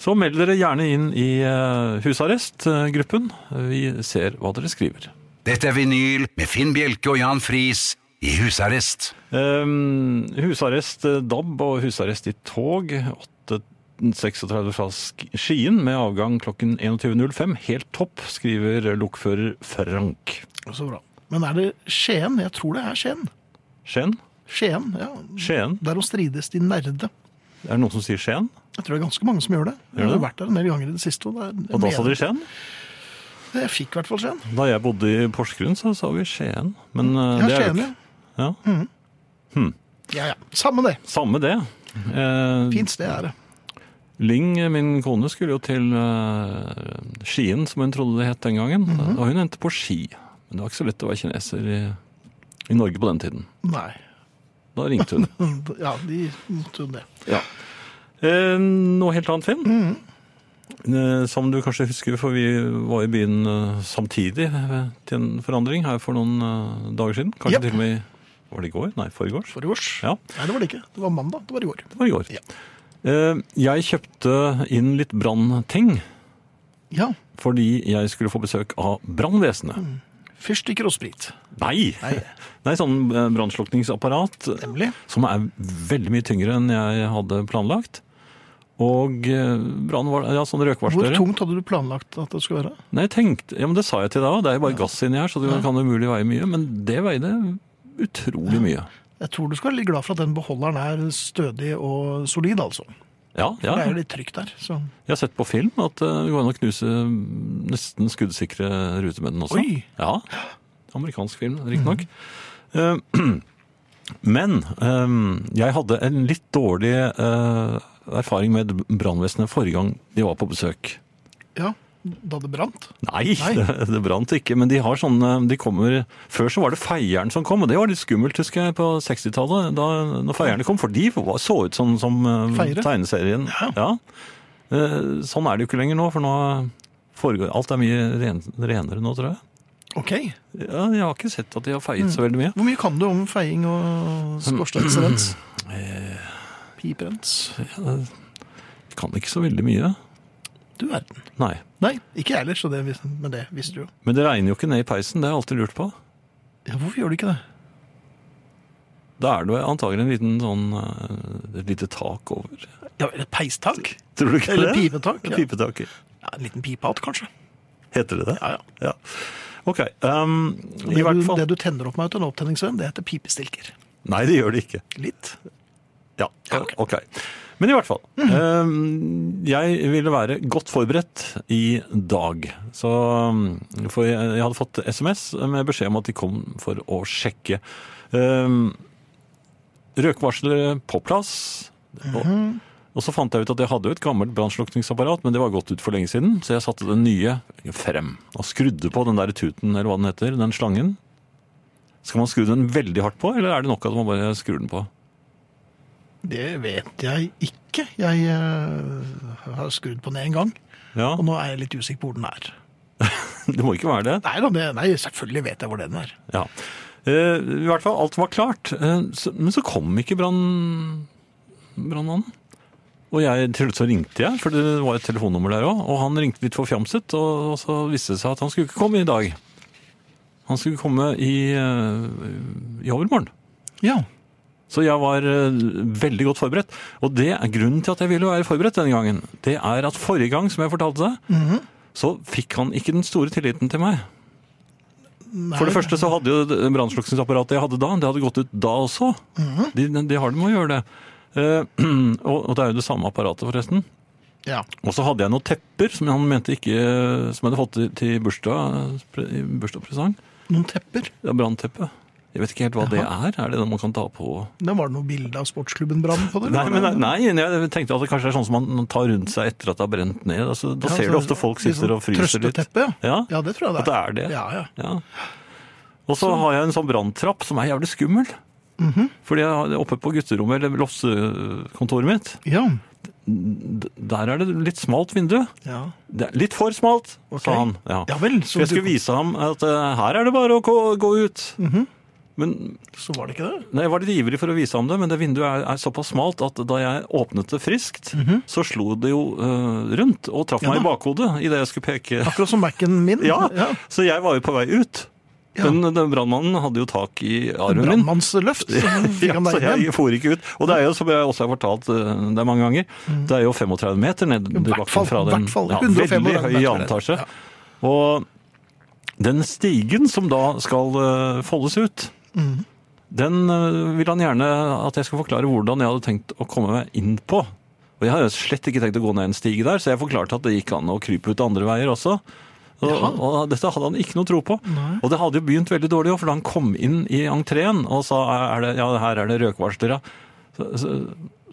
S2: Så meld dere gjerne inn i eh, husarrestgruppen. Vi ser hva dere skriver.
S3: Dette er vinyl med Finn Bjelke og Jan Friis i husarrest.
S2: Ehm, husarrest eh, DAB og husarrest i tog. 8.36 fra Sk- Skien med avgang klokken 21.05. Helt topp, skriver lokfører Frank.
S1: Så bra. Men er det Skien? Jeg tror det er Skien.
S2: Skien?
S1: Skien, ja.
S2: Skien?
S1: Der å strides de nerde.
S2: Er det noen som sier Skien?
S1: Jeg tror det er ganske mange som gjør det. Jeg har
S2: det?
S1: vært der en del ganger i det siste. Og, det er-
S2: Og da sa dere
S1: jeg,
S2: Skien?
S1: jeg fikk i hvert fall Skien.
S2: Da jeg bodde i Porsgrunn, så sa vi Skien. Men eh,
S1: Ja,
S2: det er jo
S1: Skien,
S2: ikke
S1: ja.
S2: ja. Hm.
S1: Ja, ja. Samme det.
S2: Samme det. Eh,
S1: Fint sted er det.
S2: Ling, min kone, Mhm. skulle jo til eh, Skien, som hun trodde det het den gangen. Og hun endte på Ski. Men Det var ikke så lett å være kineser i, i Norge på den tiden.
S1: Nei.
S2: Da ringte hun.
S1: Ja, de gjorde det.
S2: Ja. [LAUGHS] Eh, noe helt annet, Finn. Eh, som du kanskje husker, for vi var i byen eh, samtidig eh, til en forandring her for noen eh, dager siden. Kanskje
S1: Japp.
S2: til og med i- Var det i går? Nei, foregårs.
S1: Forgårs?
S2: Ja.
S1: Nei, det var det ikke. Det var mandag. Det var i går.
S2: Det var i går.
S1: Ja.
S2: Eh, jeg kjøpte inn litt brannting
S1: Ja.
S2: fordi jeg skulle få besøk av brannvesenet.
S1: Fyrstikker og sprit.
S2: Nei!
S1: Nei.
S2: [LAUGHS] Nei, sånn eh, brannslukningsapparat eh,
S1: Nemlig.
S2: som er veldig mye tyngre enn jeg hadde planlagt. Og eh, brann var Ja, sånn
S1: Hvor
S2: røkvarslere.
S1: tungt hadde du planlagt at det skulle være?
S2: Nei, jeg tenkte, ja, men det sa jeg til deg òg. Det er jo bare gass inni her, så det kan umulig veie mye. Men det veide utrolig mye.
S1: Jeg tror du skal være litt glad for at den beholderen er stødig og solid, altså.
S2: Ja, ja.
S1: Det er jo litt trygt der. Så.
S2: Jeg har sett på film at eh, det går an å knuse nesten skuddsikre ruter med den også.
S1: Oi!
S2: Ja. Amerikansk film, riktignok. Mm. [CLEARS THROAT] men eh, jeg hadde en litt dårlig eh, erfaring med brannvesenet forrige gang de var på besøk.
S1: Ja, da det brant.
S2: Nei,
S1: Nei.
S2: [LAUGHS] Det, det brant ikke. Men de har sånne de kommer, Før så var det feieren som kom, og det var litt skummelt, husker jeg, på 60-tallet. da- Når feierne kom, for de var, så ut sånn som eh,
S1: Feiere?
S2: tegneserien. Ja. Eh, Sånn er det jo ikke lenger nå, for nå foregår Alt er mye ren, renere nå, tror jeg. Mm.
S1: Ok.
S2: Ja, jeg har ikke sett at de har feiet så veldig mye.
S1: Hvor mye kan du om feiing og skorsteinsrens?
S2: [CLEARS THROAT] Eh.
S1: Piprens?
S2: Kan ikke så veldig mye.
S1: Du verden.
S2: Nei.
S1: Nei, ikke jeg heller, så det, vis- men det visste du jo.
S2: Men det regner jo ikke ned i peisen, det har jeg alltid lurt på.
S1: Ja, hvorfor gjør du ikke det?
S2: Da er det jo antagelig en liten sånn eh, Et lite tak over. [LAUGHS]
S1: Ja, eller peistak?
S2: Tror du ikke
S1: Eller
S2: det?
S1: pipetak, ja.
S2: Pipetaket.
S1: Ja, en liten pipehatt, kanskje.
S2: Heter det det?
S1: Ja, ja.
S2: Ok. ehm, I
S1: Det
S2: hvert
S1: du,
S2: fall
S1: det du tenner opp med til en opptenningsvenn, det heter pipestilker.
S2: Nei, det gjør det ikke.
S1: Litt.
S2: Ja,
S1: Ja, ok. Mhm.
S2: ok. Men i hvert fall. ehm, jeg ville være godt forberedt i dag. Så, ehm, for jeg, jeg hadde fått SMS med beskjed om at de kom for å sjekke. Um, røkvarslere på plass.
S1: Mhm.
S2: og, og så fant jeg ut at jeg hadde jo et gammelt brannslukningsapparat, men det var gått ut for lenge siden. Så jeg satte den nye frem og skrudde på den der tuten, eller hva den heter, den slangen. Skal man skru den veldig hardt på, eller er det nok at man bare skrur den på?
S1: Det vet jeg ikke. Jeg eh, har skrudd på den én gang,
S2: Ja.
S1: og nå er jeg litt usikker på hvor den er.
S2: [LAUGHS] Det må ikke være det.
S1: Nei, da, det, nei, selvfølgelig vet jeg hvor den er.
S2: Ja. Eh, I hvert fall, alt var klart. Eh, så, men så kom ikke brann... brannmannen. Og jeg, til slutt så ringte jeg, for det var et telefonnummer der òg. Og han ringte litt forfjamset, og, og så viste det seg at han skulle ikke komme i dag. Han skulle komme i, eh, i overmorgen.
S1: Ja.
S2: Så jeg var eh, veldig godt forberedt. Og det er grunnen til at jeg ville være forberedt denne gangen. Det er at forrige gang, som jeg fortalte deg, så fikk han ikke den store tilliten til meg. For det første så hadde jo det brannslukningsapparatet jeg hadde da, det hadde gått ut da også. de, de har det med å gjøre det. Eh, [CLEARS THROAT] og, og det er jo det samme apparatet, forresten.
S1: Ja.
S2: Og så hadde jeg noen tepper som han mente ikke Som jeg hadde fått til, til bursdag, i bursdagspresang.
S1: Noen tepper.
S2: Ja, Brannteppe. Jeg vet ikke helt hva det er. Er det det man kan ta på
S1: Da var det noe bilde av sportsklubben Brann på det?
S2: Nei,
S1: eller?
S2: men, nei, jeg tenkte at det kanskje er sånn som man tar rundt seg etter at det har brent ned. Altså, da
S1: Ja,
S2: ser
S1: så-
S2: du ofte folk sitter
S1: litt
S2: og fryser
S1: sånn
S2: litt.
S1: Trøsteteppe, ja.
S2: Ja.
S1: ja. det tror jeg det
S2: At
S1: er.
S2: det er det.
S1: Ja, ja.
S2: Ja. Og så har jeg en sånn branntrapp som er jævlig skummel.
S1: Mhm.
S2: Fordi jeg har- oppe på gutterommet, eller lossekontoret mitt,
S1: Ja.
S2: d- der er det litt smalt vindu.
S1: ja.
S2: Det er litt for smalt,
S1: Ok.
S2: sa han. Ja.
S1: Ja vel,
S2: For
S1: så
S2: jeg
S1: du-
S2: skulle
S1: Mhm.
S2: vise ham at eh, her er det bare å gå, gå ut. Men
S1: Så var det ikke det?
S2: Nei, Jeg var litt ivrig for å vise ham det, men det vinduet er, er såpass smalt at da jeg åpnet det friskt, så slo det jo eh, rundt og traff
S1: Mhm. Ja
S2: meg
S1: da.
S2: i bakhodet idet jeg skulle peke.
S1: Akkurat som Mac-en min.
S2: [LAUGHS] Ja,
S1: ja.
S2: Så jeg var jo på vei ut.
S1: Ja.
S2: Men den brannmannen hadde jo tak i armen min.
S1: Brannmannsløft. Så fikk
S2: [LAUGHS] Ja,
S1: han
S2: så
S1: deg igjen.
S2: jeg for ikke ut. Og det er jo, som jeg også har fortalt eh, deg mange ganger,
S1: Mm.
S2: det er jo 35 meter ned i
S1: hvert fall,
S2: bakken fra den
S1: hvert fall,
S2: ja,
S1: 135
S2: veldig høye
S1: meter.
S2: jerntasje. Og den stigen som da skal eh, foldes ut,
S1: Mhm.
S2: den eh, vil han gjerne at jeg skal forklare hvordan jeg hadde tenkt å komme meg inn på. Og jeg har jo slett ikke tenkt å gå ned en stige der, så jeg forklarte at det gikk an å krype ut andre veier også. Og, og dette hadde han ikke noe tro på. Og det hadde jo begynt veldig dårlig òg, for da han kom inn i entreen og sa er det, ja, her er det røkvarslere, så, så,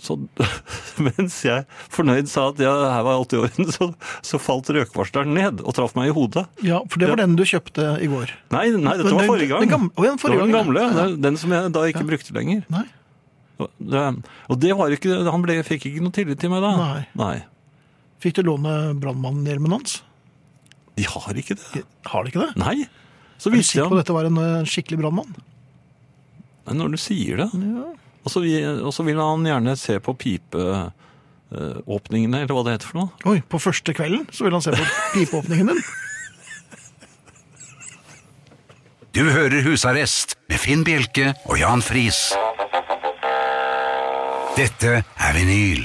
S2: Så [LAUGHS] mens jeg fornøyd sa at jeg her var alt i orden, så, så falt røkvarsleren ned og traff meg i hodet.
S1: Ja, for det var
S2: Ja.
S1: den du kjøpte i går.
S2: Nei, nei dette var
S1: Den-
S2: forrige gang.
S1: den gam- Å, ja, den forrige
S2: det var den
S1: gangen,
S2: gamle,
S1: ja.
S2: den, den som jeg da ikke brukte lenger.
S1: Nei.
S2: Og det, og det var ikke, han ble, fikk ikke noe tillit til meg da.
S1: Nei. Fikk du låne brannmannhjelmen hans?
S2: De har ikke det.
S1: Har de ikke det?
S2: Nei. Så
S1: Er du
S2: visste
S1: sikker
S2: jeg
S1: på at dette var en eh, skikkelig brannmann?
S2: Nei, Når du sier det. Og, så, vi- og så vil han gjerne se på pipeåpningene, eller hva det heter for noe.
S1: Oi, på første kvelden så ville han se på pipeåpningen din.
S3: Du hører Husarrest med Finn Bjelke og Jan Friis. Dette er vinyl.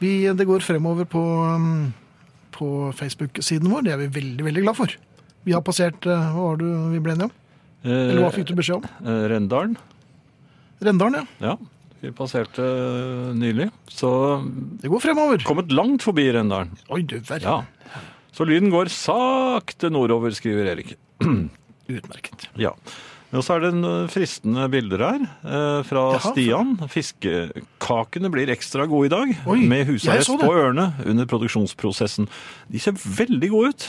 S1: Vi, eh, det går fremover på, um, på Facebook-siden vår. Det er vi veldig, veldig glad for. Vi har passert eh, Hva var det vi ble enige om? Eller
S2: Eh,
S1: hva fikk du beskjed om?
S2: Rendalen.
S1: Rendalen, ja.
S2: Ja, vi passerte eh, nylig. Så
S1: Det går fremover.
S2: kommet langt forbi Rendalen.
S1: Oi, du verden.
S2: Ja. Så lyden går sakte nordover, skriver Erik.
S1: [CLEARS THROAT] Utmerket.
S2: Ja. Og så er det en eh, fristende bilder her eh, fra
S1: Jaha.
S2: Stian. Fiskekakene blir ekstra gode i dag,
S1: Oi,
S2: med
S1: jeg
S2: husarrest
S1: så det.
S2: på ørene under produksjonsprosessen. De ser veldig gode ut,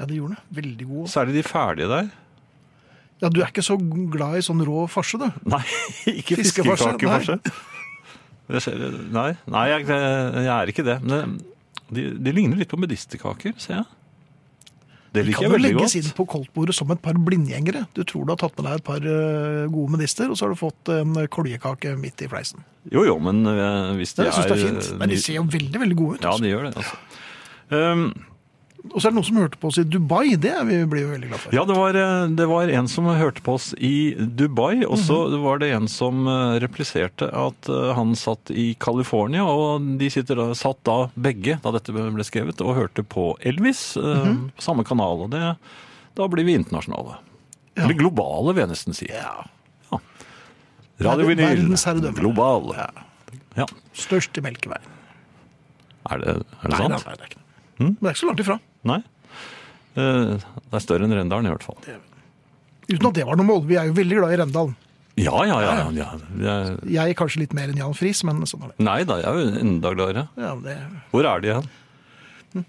S1: Ja, det gjorde det. Veldig god.
S2: særlig de ferdige der.
S1: Ja, Du er ikke så glad i sånn rå farse, du.
S2: Nei, [LAUGHS] ikke
S1: Fiskefarse,
S2: fiskekake,
S1: nei.
S2: kanskje. Det ser- Nei, nei jeg, jeg er ikke det. Men eh, de, de ligner litt på medisterkaker, ser jeg. Det liker
S1: Kan
S2: jeg
S1: du
S2: veldig
S1: legges
S2: godt.
S1: inn på koldtbordet som et par blindgjengere? Du tror du har tatt med deg et par eh, gode medister, og så har du fått eh, en koljekake midt i fleisen.
S2: Jo, jo, men eh, hvis
S1: Det,
S2: det
S1: jeg synes det er fint.
S2: eh,
S1: Men de
S2: ny-
S1: ser jo veldig veldig gode ut.
S2: Ja,
S1: altså.
S2: de gjør det. altså. Um,
S1: Og så er det noen som hørte på oss i Dubai. Det er vi blir jo veldig glad for.
S2: Ja, det var, eh, det var en som hørte på oss i Dubai, og så
S1: Mhm.
S2: var det en som eh, repliserte at eh, han satt i California, og de sitter da, satt da begge, da dette ble skrevet, og hørte på Elvis eh,
S1: Mhm.
S2: på samme kanal, og det, da blir vi internasjonale.
S1: Ja.
S2: Eller globale, vil jeg nesten si.
S1: Ja.
S2: Radio
S1: Verden-
S2: Vinyl,
S1: verdensherredømme.
S2: global. Ja,
S1: Størst i Melkeveien.
S2: er det, er det
S1: Nei, nei,
S2: sant? Hm?
S1: nei, det er ikke det. Men det er ikke så langt ifra.
S2: Nei. Eh, Det er større enn Rendalen i hvert fall.
S1: Uten at det var noe mål. Vi er jo veldig glad i Rendalen.
S2: Ja, ja, ja. ja. Det er-
S1: Jeg er kanskje litt mer enn Jan Friis, men sånn er det.
S2: Nei da, jeg er jo enda gladere.
S1: Ja, det.
S2: Hvor er de igjen? Er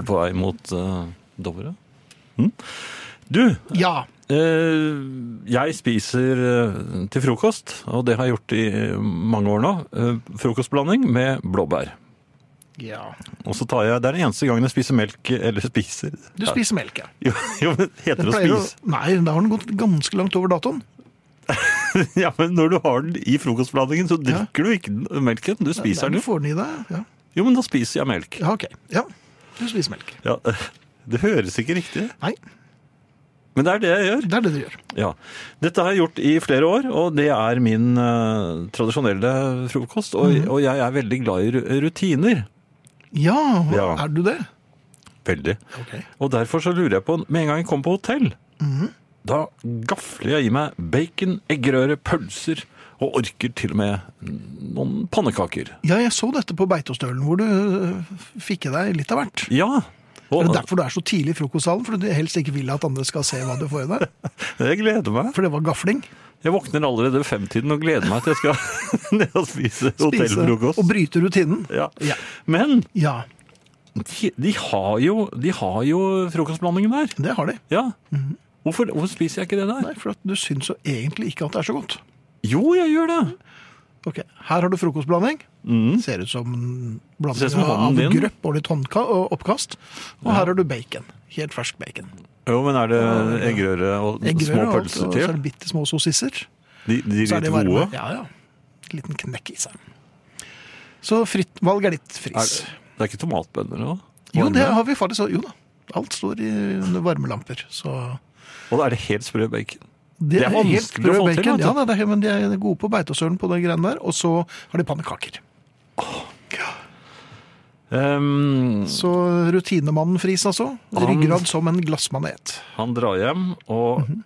S2: det på vei mot eh, Dovre? Hm? Du,
S1: ja.
S2: eh, jeg spiser eh, til frokost, og det har jeg gjort i eh, mange år nå, eh, frokostblanding med blåbær.
S1: ja.
S2: Og så tar jeg, Det er den eneste gangen jeg spiser melk eller spiser
S1: Du spiser melk, ja.
S2: Jo, jo men heter det å
S1: pleier å-
S2: spise? [LAUGHS]
S1: Nei, da har den gått ganske langt over datoen.
S2: Ja, men Når du har den i frokostblandingen, så drikker du ikke den- eh, melken. Du spiser
S1: Nei,
S2: den
S1: Du
S2: jo.
S1: får den i deg. Ja.
S2: Jo, men da spiser jeg melk.
S1: ja, ok. Ja, du spiser melk.
S2: Ja, [LAUGHS] det høres ikke riktig
S1: Nei,
S2: men det er det jeg gjør.
S1: det er det du gjør.
S2: Ja. Dette har jeg gjort i flere år, og det er min eh, tradisjonelle frokost. Og,
S1: Mhm.
S2: og jeg er veldig glad i ru- rutiner.
S1: Ja,
S2: Ja.
S1: er du det?
S2: Veldig.
S1: Ok.
S2: Og derfor så lurer jeg på, med en gang jeg kom på hotell,
S1: Mhm.
S2: da gafler jeg i meg bacon, eggerøre, pølser, og orker til og med noen pannekaker.
S1: Ja, jeg så dette på Beitostølen, hvor du øh, fikk i deg litt av hvert.
S2: Ja, og
S1: Er det derfor du er så tidlig i frokostsalen? For du helst ikke vil at andre skal se hva du får i deg?
S2: [LAUGHS] jeg gleder meg.
S1: For det var gafling.
S2: Jeg våkner allerede ved femtiden og gleder meg til jeg skal [LAUGHS] ned og spise
S1: Spise
S2: hotellfrokost.
S1: Og bryte rutinen.
S2: Ja.
S1: Ja.
S2: Men
S1: Ja,
S2: de, de, har jo, de har jo frokostblandingen der.
S1: det har de.
S2: Ja. Hvorfor, hvorfor spiser jeg ikke det der?
S1: Nei, for at du syns jo egentlig ikke at det er så godt.
S2: Jo, jeg gjør det.
S1: Ok, Her har du frokostblanding. Ser ut som en blanding
S2: Ser ut Mm. som hånden
S1: av
S2: din.
S1: grøpp og litt håndka og oppkast. Og her har du bacon. Helt fersk bacon.
S2: Jo, men er det eggerøre og
S1: Eggerøre
S2: små
S1: og alt,
S2: pølser
S1: og så er
S2: til?
S1: det bitte små sossisser.
S2: De, de
S1: Så er
S2: litt
S1: det
S2: gode?
S1: varme. Ja, ja. Liten knekk i seg. Så fritt valg er ditt fris.
S2: Er, det er ikke tomatbønner nå?
S1: Jo,
S2: Varme?
S1: det har vi faktisk. Jo da. Alt står i under varmelamper. Så
S2: Og da er det helt sprø bacon?
S1: det,
S2: er
S1: er
S2: vanskelig
S1: helt sprø
S2: å få til,
S1: bacon.
S2: vet du.
S1: Ja, da, det er, men de er gode på beitostølen på de greiene der. Og så har de pannekaker.
S2: Ehm,
S1: Så rutinemannen Friis, altså. Ryggrad som en glassmanet.
S2: han drar hjem, og
S1: Mhm.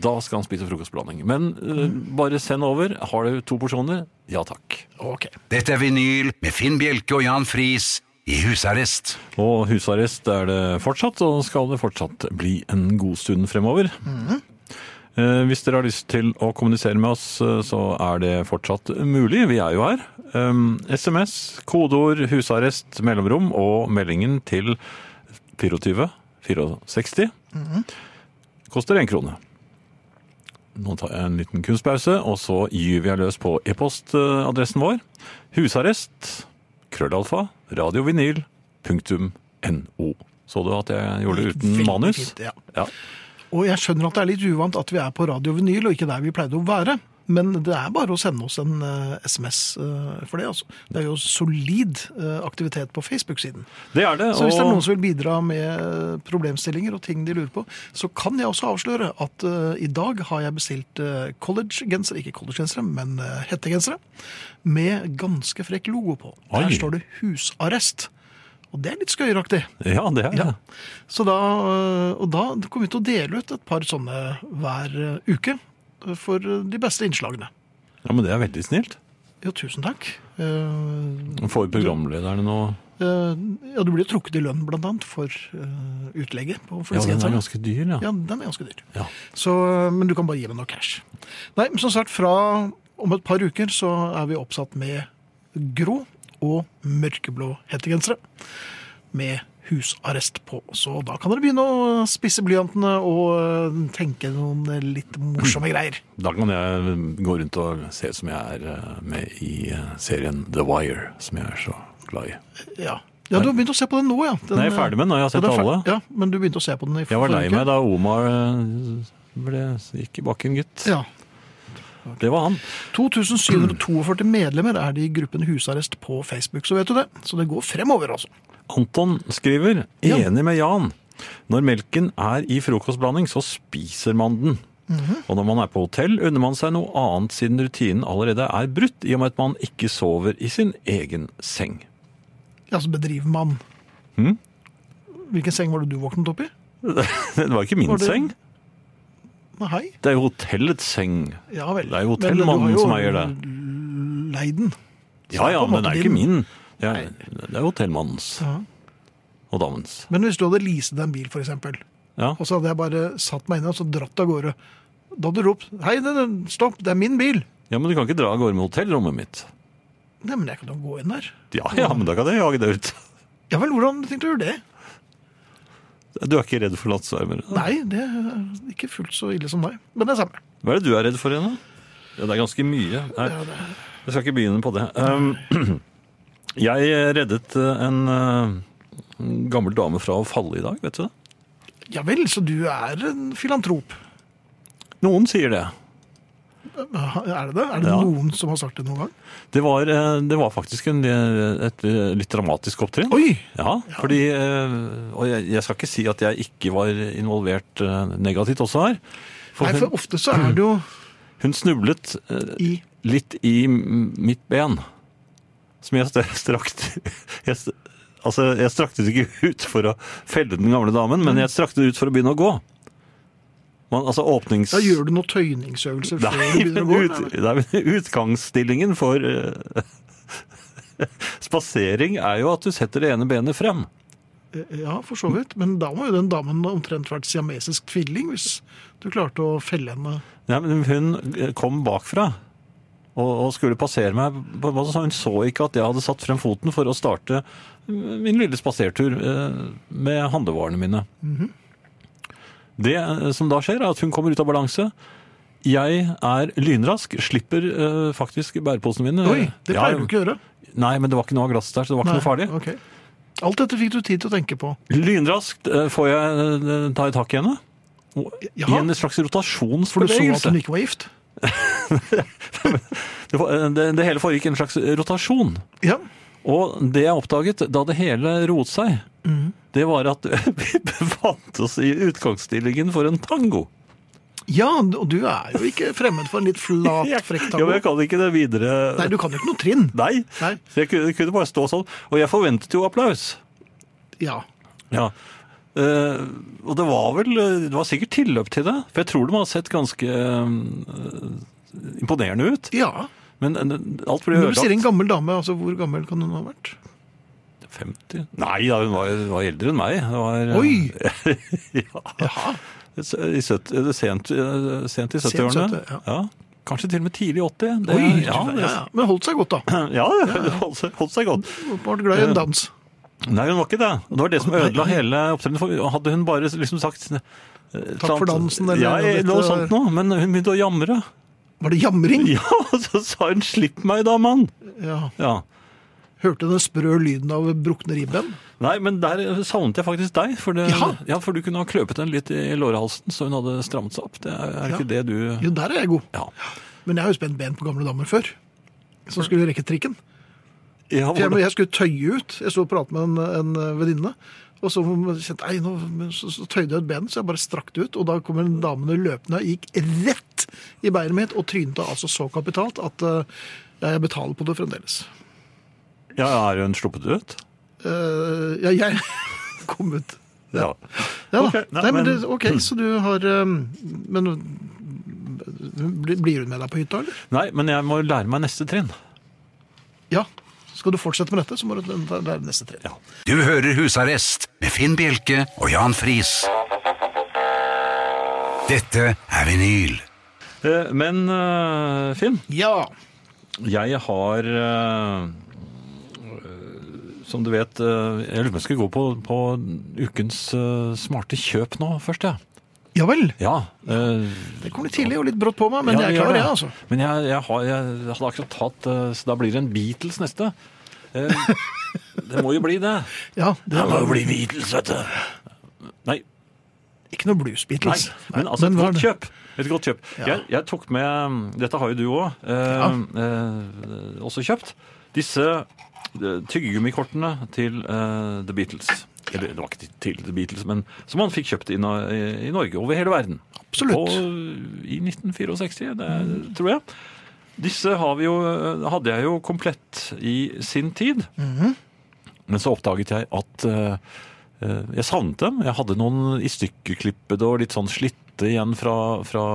S2: da skal han spise frokostblanding. Men eh, bare send over. Har du to porsjoner? Ja takk.
S1: Ok.
S3: Dette er vinyl med Finn Bjelke og Jan Friis i husarrest.
S2: Og husarrest er det fortsatt, og skal det fortsatt bli en god stund fremover. Eh, Hvis dere har lyst til å kommunisere med oss, eh, så er det fortsatt mulig. Vi er jo her. Um, SMS, kodeord, husarrest, mellomrom og meldingen til 24 64
S1: Mhm.
S2: koster én krone. Nå tar jeg en liten kunstpause, og så gyver jeg løs på e-postadressen vår. Husarrest, krøllalfa, radiovinyl, punktum no. Så du at jeg gjorde det uten
S1: Veldig
S2: manus?
S1: fint, ja.
S2: ja.
S1: Og jeg skjønner at det er litt uvant at vi er på Radio Vinyl og ikke der vi pleide å være. Men det er bare å sende oss en eh, SMS eh, for det. altså. Det er jo solid eh, aktivitet på Facebook-siden.
S2: Det er det.
S1: Så hvis det er
S2: og-
S1: noen som vil bidra med eh, problemstillinger og ting de lurer på, så kan jeg også avsløre at eh, i dag har jeg bestilt eh, collegegensere, ikke collegegensere, men eh, hettegensere, med ganske frekk logo på.
S2: Oi.
S1: Der står det 'husarrest'. Og det er litt skøyeraktig.
S2: Ja, det er det.
S1: Ja. Så da, eh, og da kommer vi til å dele ut et par sånne hver eh, uke eh, for de beste innslagene.
S2: Ja, men det er veldig snilt.
S1: Jo, tusen takk. Eh,
S2: Får programlederne noe
S1: eh, Ja, du blir jo trukket i lønn blant annet for eh, utlegget på
S2: Ja, den er
S1: flisegenseren.
S2: ganske dyr, ja.
S1: Ja, den er ganske dyr.
S2: Ja.
S1: Så, men du kan bare gi meg noe cash. Nei, men som sagt, fra om et par uker så er vi oppsatt med grå og mørkeblå hettegensere. Med husarrest på. Så da kan dere begynne å spisse blyantene og øh, tenke noen litt morsomme greier.
S2: Da kan jeg gå rundt og se ut som jeg er eh, med i eh, serien The Wire, som jeg er så glad i.
S1: Ja. ja, du har begynt å se på den nå, ja. Den,
S2: Nei, jeg er ferdig med den, og jeg har
S1: Ja,
S2: sett
S1: du er fer-
S2: alle.
S1: Ja, men du begynte å se på den i
S2: Jeg var lei
S1: forrige uke.
S2: meg da Omar eh, ble, gikk i bakken, gitt.
S1: Ja.
S2: Det var han.
S1: 2742 medlemmer er det i gruppen Husarrest på Facebook, så vet du det. Så det går fremover, altså.
S2: Anton skriver,
S1: Ja.
S2: enig med Jan. Når melken er i frokostblanding, så spiser man den.
S1: Mhm.
S2: Og når man er på hotell, unner man seg noe annet siden rutinen allerede er brutt, i og med at man ikke sover i sin egen seng.
S1: Ja, så bedriver man.
S2: Mhm.
S1: Hvilken seng var det du våknet opp i?
S2: Det var ikke min
S1: Var det-
S2: seng.
S1: Nei, hei.
S2: Det er jo hotellets seng.
S1: Ja vel.
S2: Det er jo
S1: Men du
S2: hotellmannen
S1: har jo
S2: som eier det.
S1: Leid den.
S2: Ja, ja,
S1: på en
S2: men
S1: måte
S2: den er
S1: din.
S2: ikke min. Det er, det er hotellmannens
S1: Ja.
S2: og damens.
S1: Men hvis du hadde leaset en bil, for eksempel,
S2: Ja.
S1: og så hadde jeg bare satt meg inn og så dratt av gårde, da hadde du ropt, hei, det, det, stopp, det er min bil.
S2: ja, men du kan ikke dra av gårde med hotellrommet mitt.
S1: Nei, men jeg kan jo gå inn der.
S2: Ja, ja, men da kan jeg jage deg ut.
S1: Ja vel, hvordan tenkte du gjøre det?
S2: Du er ikke redd for nattsvermere?
S1: Nei, det er ikke fullt så ille som meg, men det er samme.
S2: Hva er det du er redd for igjen, da? Ja, det er ganske mye. Nei, jeg skal ikke begynne på det. Um, [CLEARS THROAT] jeg reddet eh, en eh, en gammel dame fra å falle i dag, vet du det?
S1: Ja vel, så du er en filantrop.
S2: Noen sier det.
S1: Er det det? Er det
S2: Ja.
S1: noen som har sagt det noen gang?
S2: Det var, eh, det var faktisk en, eh, et litt dramatisk opptrinn.
S1: Oi!
S2: Ja, fordi eh, Og jeg, jeg skal ikke si at jeg ikke var involvert eh, negativt også her. For
S1: Nei, for
S2: hun,
S1: ofte så er det jo
S2: hun snublet eh,
S1: i...
S2: litt i m- mitt ben. Som jeg st- strakte [LAUGHS] jeg, st- Altså, jeg strakte det ikke ut for å felle den gamle damen, men jeg strakte det ut for å begynne å gå. Man, altså åpnings...
S1: Da gjør du noen tøyningsøvelser før
S2: Nei,
S1: du begynner å gå.
S2: men ut, nei, men utgangsstillingen for eh, [LAUGHS] spasering er jo at du setter det ene benet frem.
S1: Ja, for så vidt. Men da må jo den damen omtrent vært siamesisk tvilling, hvis du klarte å felle henne.
S2: Nei, men hun kom bakfra og, og skulle passere meg. på en måte, så Hun så ikke at jeg hadde satt frem foten for å starte min lille spasertur eh, med handlevarene mine.
S1: Mhm.
S2: Det eh, som da skjer, er at hun kommer ut av balanse. Jeg er lynrask, slipper eh, faktisk bæreposene mine.
S1: Oi, det
S2: Ja,
S1: pleier du ikke å gjøre.
S2: Nei, men det var ikke noe av glass der, så det var ikke noe farlig.
S1: ok. Alt dette fikk du tid til å tenke på.
S2: Lynraskt eh, får jeg eh, ta i tak i henne. og-
S1: Jaha.
S2: I en slags
S1: For du så at
S2: rotasjonsbevegelse.
S1: hun ikke var gift.
S2: Det, var- eh, det, det hele foregikk i en slags rotasjon.
S1: Ja,
S2: Og det jeg oppdaget da det hele roet seg,
S1: Mm.
S2: det var at [LAUGHS] vi befant oss i utgangsstillingen for en tango.
S1: ja og du er jo ikke fremmed for en litt flat, frekk
S2: [LAUGHS] Ja,
S1: tango.
S2: men jeg kan ikke det videre.
S1: Nei, du kan jo ikke noe trinn.
S2: Nei.
S1: Nei.
S2: Så jeg kunne, kunne bare stå sånn. Og jeg forventet jo applaus.
S1: Ja.
S2: Ja. Eh, og det var vel Det var sikkert tilløp til det, for jeg tror de har sett ganske eh, imponerende ut.
S1: ja.
S2: Men eh, alt ble
S1: Når du sier en
S2: ødelagt.
S1: gammel dame, altså hvor gammel kan hun ha vært?
S2: 50? Nei da, hun var, var eldre enn meg. Det var,
S1: Oi!
S2: [LAUGHS] ja.
S1: Jaha.
S2: I søt, eh, sent, eh, sent i 70-årene.
S1: 70, ja.
S2: Kanskje til og med tidlig 80. Det,
S1: Oi,
S2: ja,
S1: ja,
S2: det,
S1: ja. Men holdt seg godt, da.
S2: [LAUGHS] ja, det holdt seg- holdt seg godt.
S1: Var glad i en dans.
S2: Nei, hun var ikke det. Det var det som ødela hele opptredenen. for Hadde hun bare liksom sagt eh,
S1: Takk for
S2: sant-
S1: dansen, eller
S2: ja,
S1: noe
S2: noe
S1: dette-
S2: sånt noe. Men hun begynte å jamre. [LAUGHS]
S1: Var det jamring?
S2: Ja, og så sa hun 'slipp meg da, mann'.
S1: Ja.
S2: Ja.
S1: Hørte den sprø lyden av brukne ribben?
S2: Nei, men der savnet jeg faktisk deg. For, det,
S1: Ja.
S2: ja. for du kunne ha kløpet henne litt i lårhalsen, så hun hadde strammet seg opp. Det er, er
S1: Ja.
S2: ikke det du
S1: Jo, der er jeg god.
S2: Ja.
S1: Men jeg har jo spent ben på gamle damer før. Så skulle jeg rekke trikken.
S2: Ja,
S1: For jeg,
S2: hvordan-
S1: jeg skulle tøye ut. Jeg sto og pratet med en, en venninne. Og så kjente jeg, nå, men så, så tøyde jeg ut benet, så jeg bare strakk det ut. Og da kom en damene løpende og gikk rett i beinet mitt og trynte altså så kapitalt at eh, jeg betaler på det fremdeles.
S2: ja, er hun sluppet ut?
S1: Eh, ja, jeg [LAUGHS] kom ut. Ja
S2: Ja.
S1: da.
S2: Ok, nei,
S1: nei, men,
S2: men-
S1: det, ok, så du har eh, Men blir blir hun med deg på hytta, eller?
S2: Nei, men jeg må lære meg neste trinn.
S1: Ja. Skal du fortsette med dette, så må du ta- lære neste trinn.
S3: Du hører Husarrest med Finn Bjelke og Jan Friis. Dette er vinyl.
S2: Eh, Men eh, Finn,
S1: Ja.
S2: jeg har eh, eh, Som du vet eh, Jeg lurer på om jeg skal gå på, på ukens eh, smarte kjøp nå først, jeg.
S1: Ja vel.
S2: Ja. eh,
S1: Det kom litt tidlig og litt brått på meg, men
S2: ja,
S1: jeg
S2: gjør
S1: klarer det,
S2: det.
S1: altså.
S2: Men jeg, jeg, har, jeg hadde akkurat tatt eh, Så da blir det en Beatles neste. Eh, [LAUGHS] det må jo bli det.
S1: Ja, det var
S2: bli Beatles, vet du. Nei,
S1: ikke noe Blues
S2: Nei,
S1: Beatles.
S2: men altså, et
S1: hva er
S2: godt
S1: det?
S2: kjøp. Et godt kjøp.
S1: Ja.
S2: Jeg, jeg tok med mm, Dette har jo du òg også kjøpt. Disse eh, tyggegummikortene til eh, The Beatles. Eller det var ikke til The Beatles, men som han fikk kjøpt i, Na- i Norge. Over hele verden.
S1: Absolutt.
S2: Og eh, i 1964, det, tror jeg. Disse har vi jo, eh, hadde jeg jo komplett i sin tid. Men så oppdaget jeg at eh, eh, jeg savnet dem. Jeg hadde noen i stykkeklippede og litt sånn slitte igjen fra, fra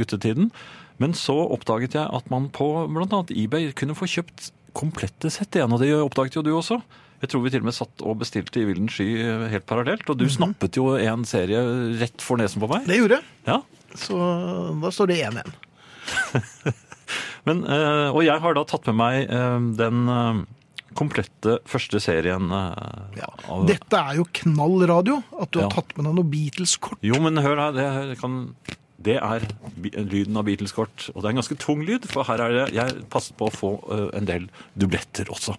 S2: guttetiden. Men så oppdaget jeg at man på bl.a. eBay kunne få kjøpt komplette sett igjen, og det oppdaget jo du også. Jeg tror vi til og med satt og bestilte i villen sky eh, helt parallelt, og du snappet jo en serie rett for nesen på meg.
S1: Det gjorde jeg.
S2: Ja,
S1: Så da står det 1-1.
S2: Men, eh, og jeg har da tatt med meg eh, den eh, komplette første serien. eh,
S1: Ja.
S2: av-
S1: Dette er jo knall radio, at du har
S2: Ja.
S1: tatt med deg noe Beatles-kort.
S2: Jo, men hør her, det, kan, det er bi- lyden av Beatles-kort. Og det er en ganske tung lyd, for her er det Jeg passet på å få eh, en del dubletter også.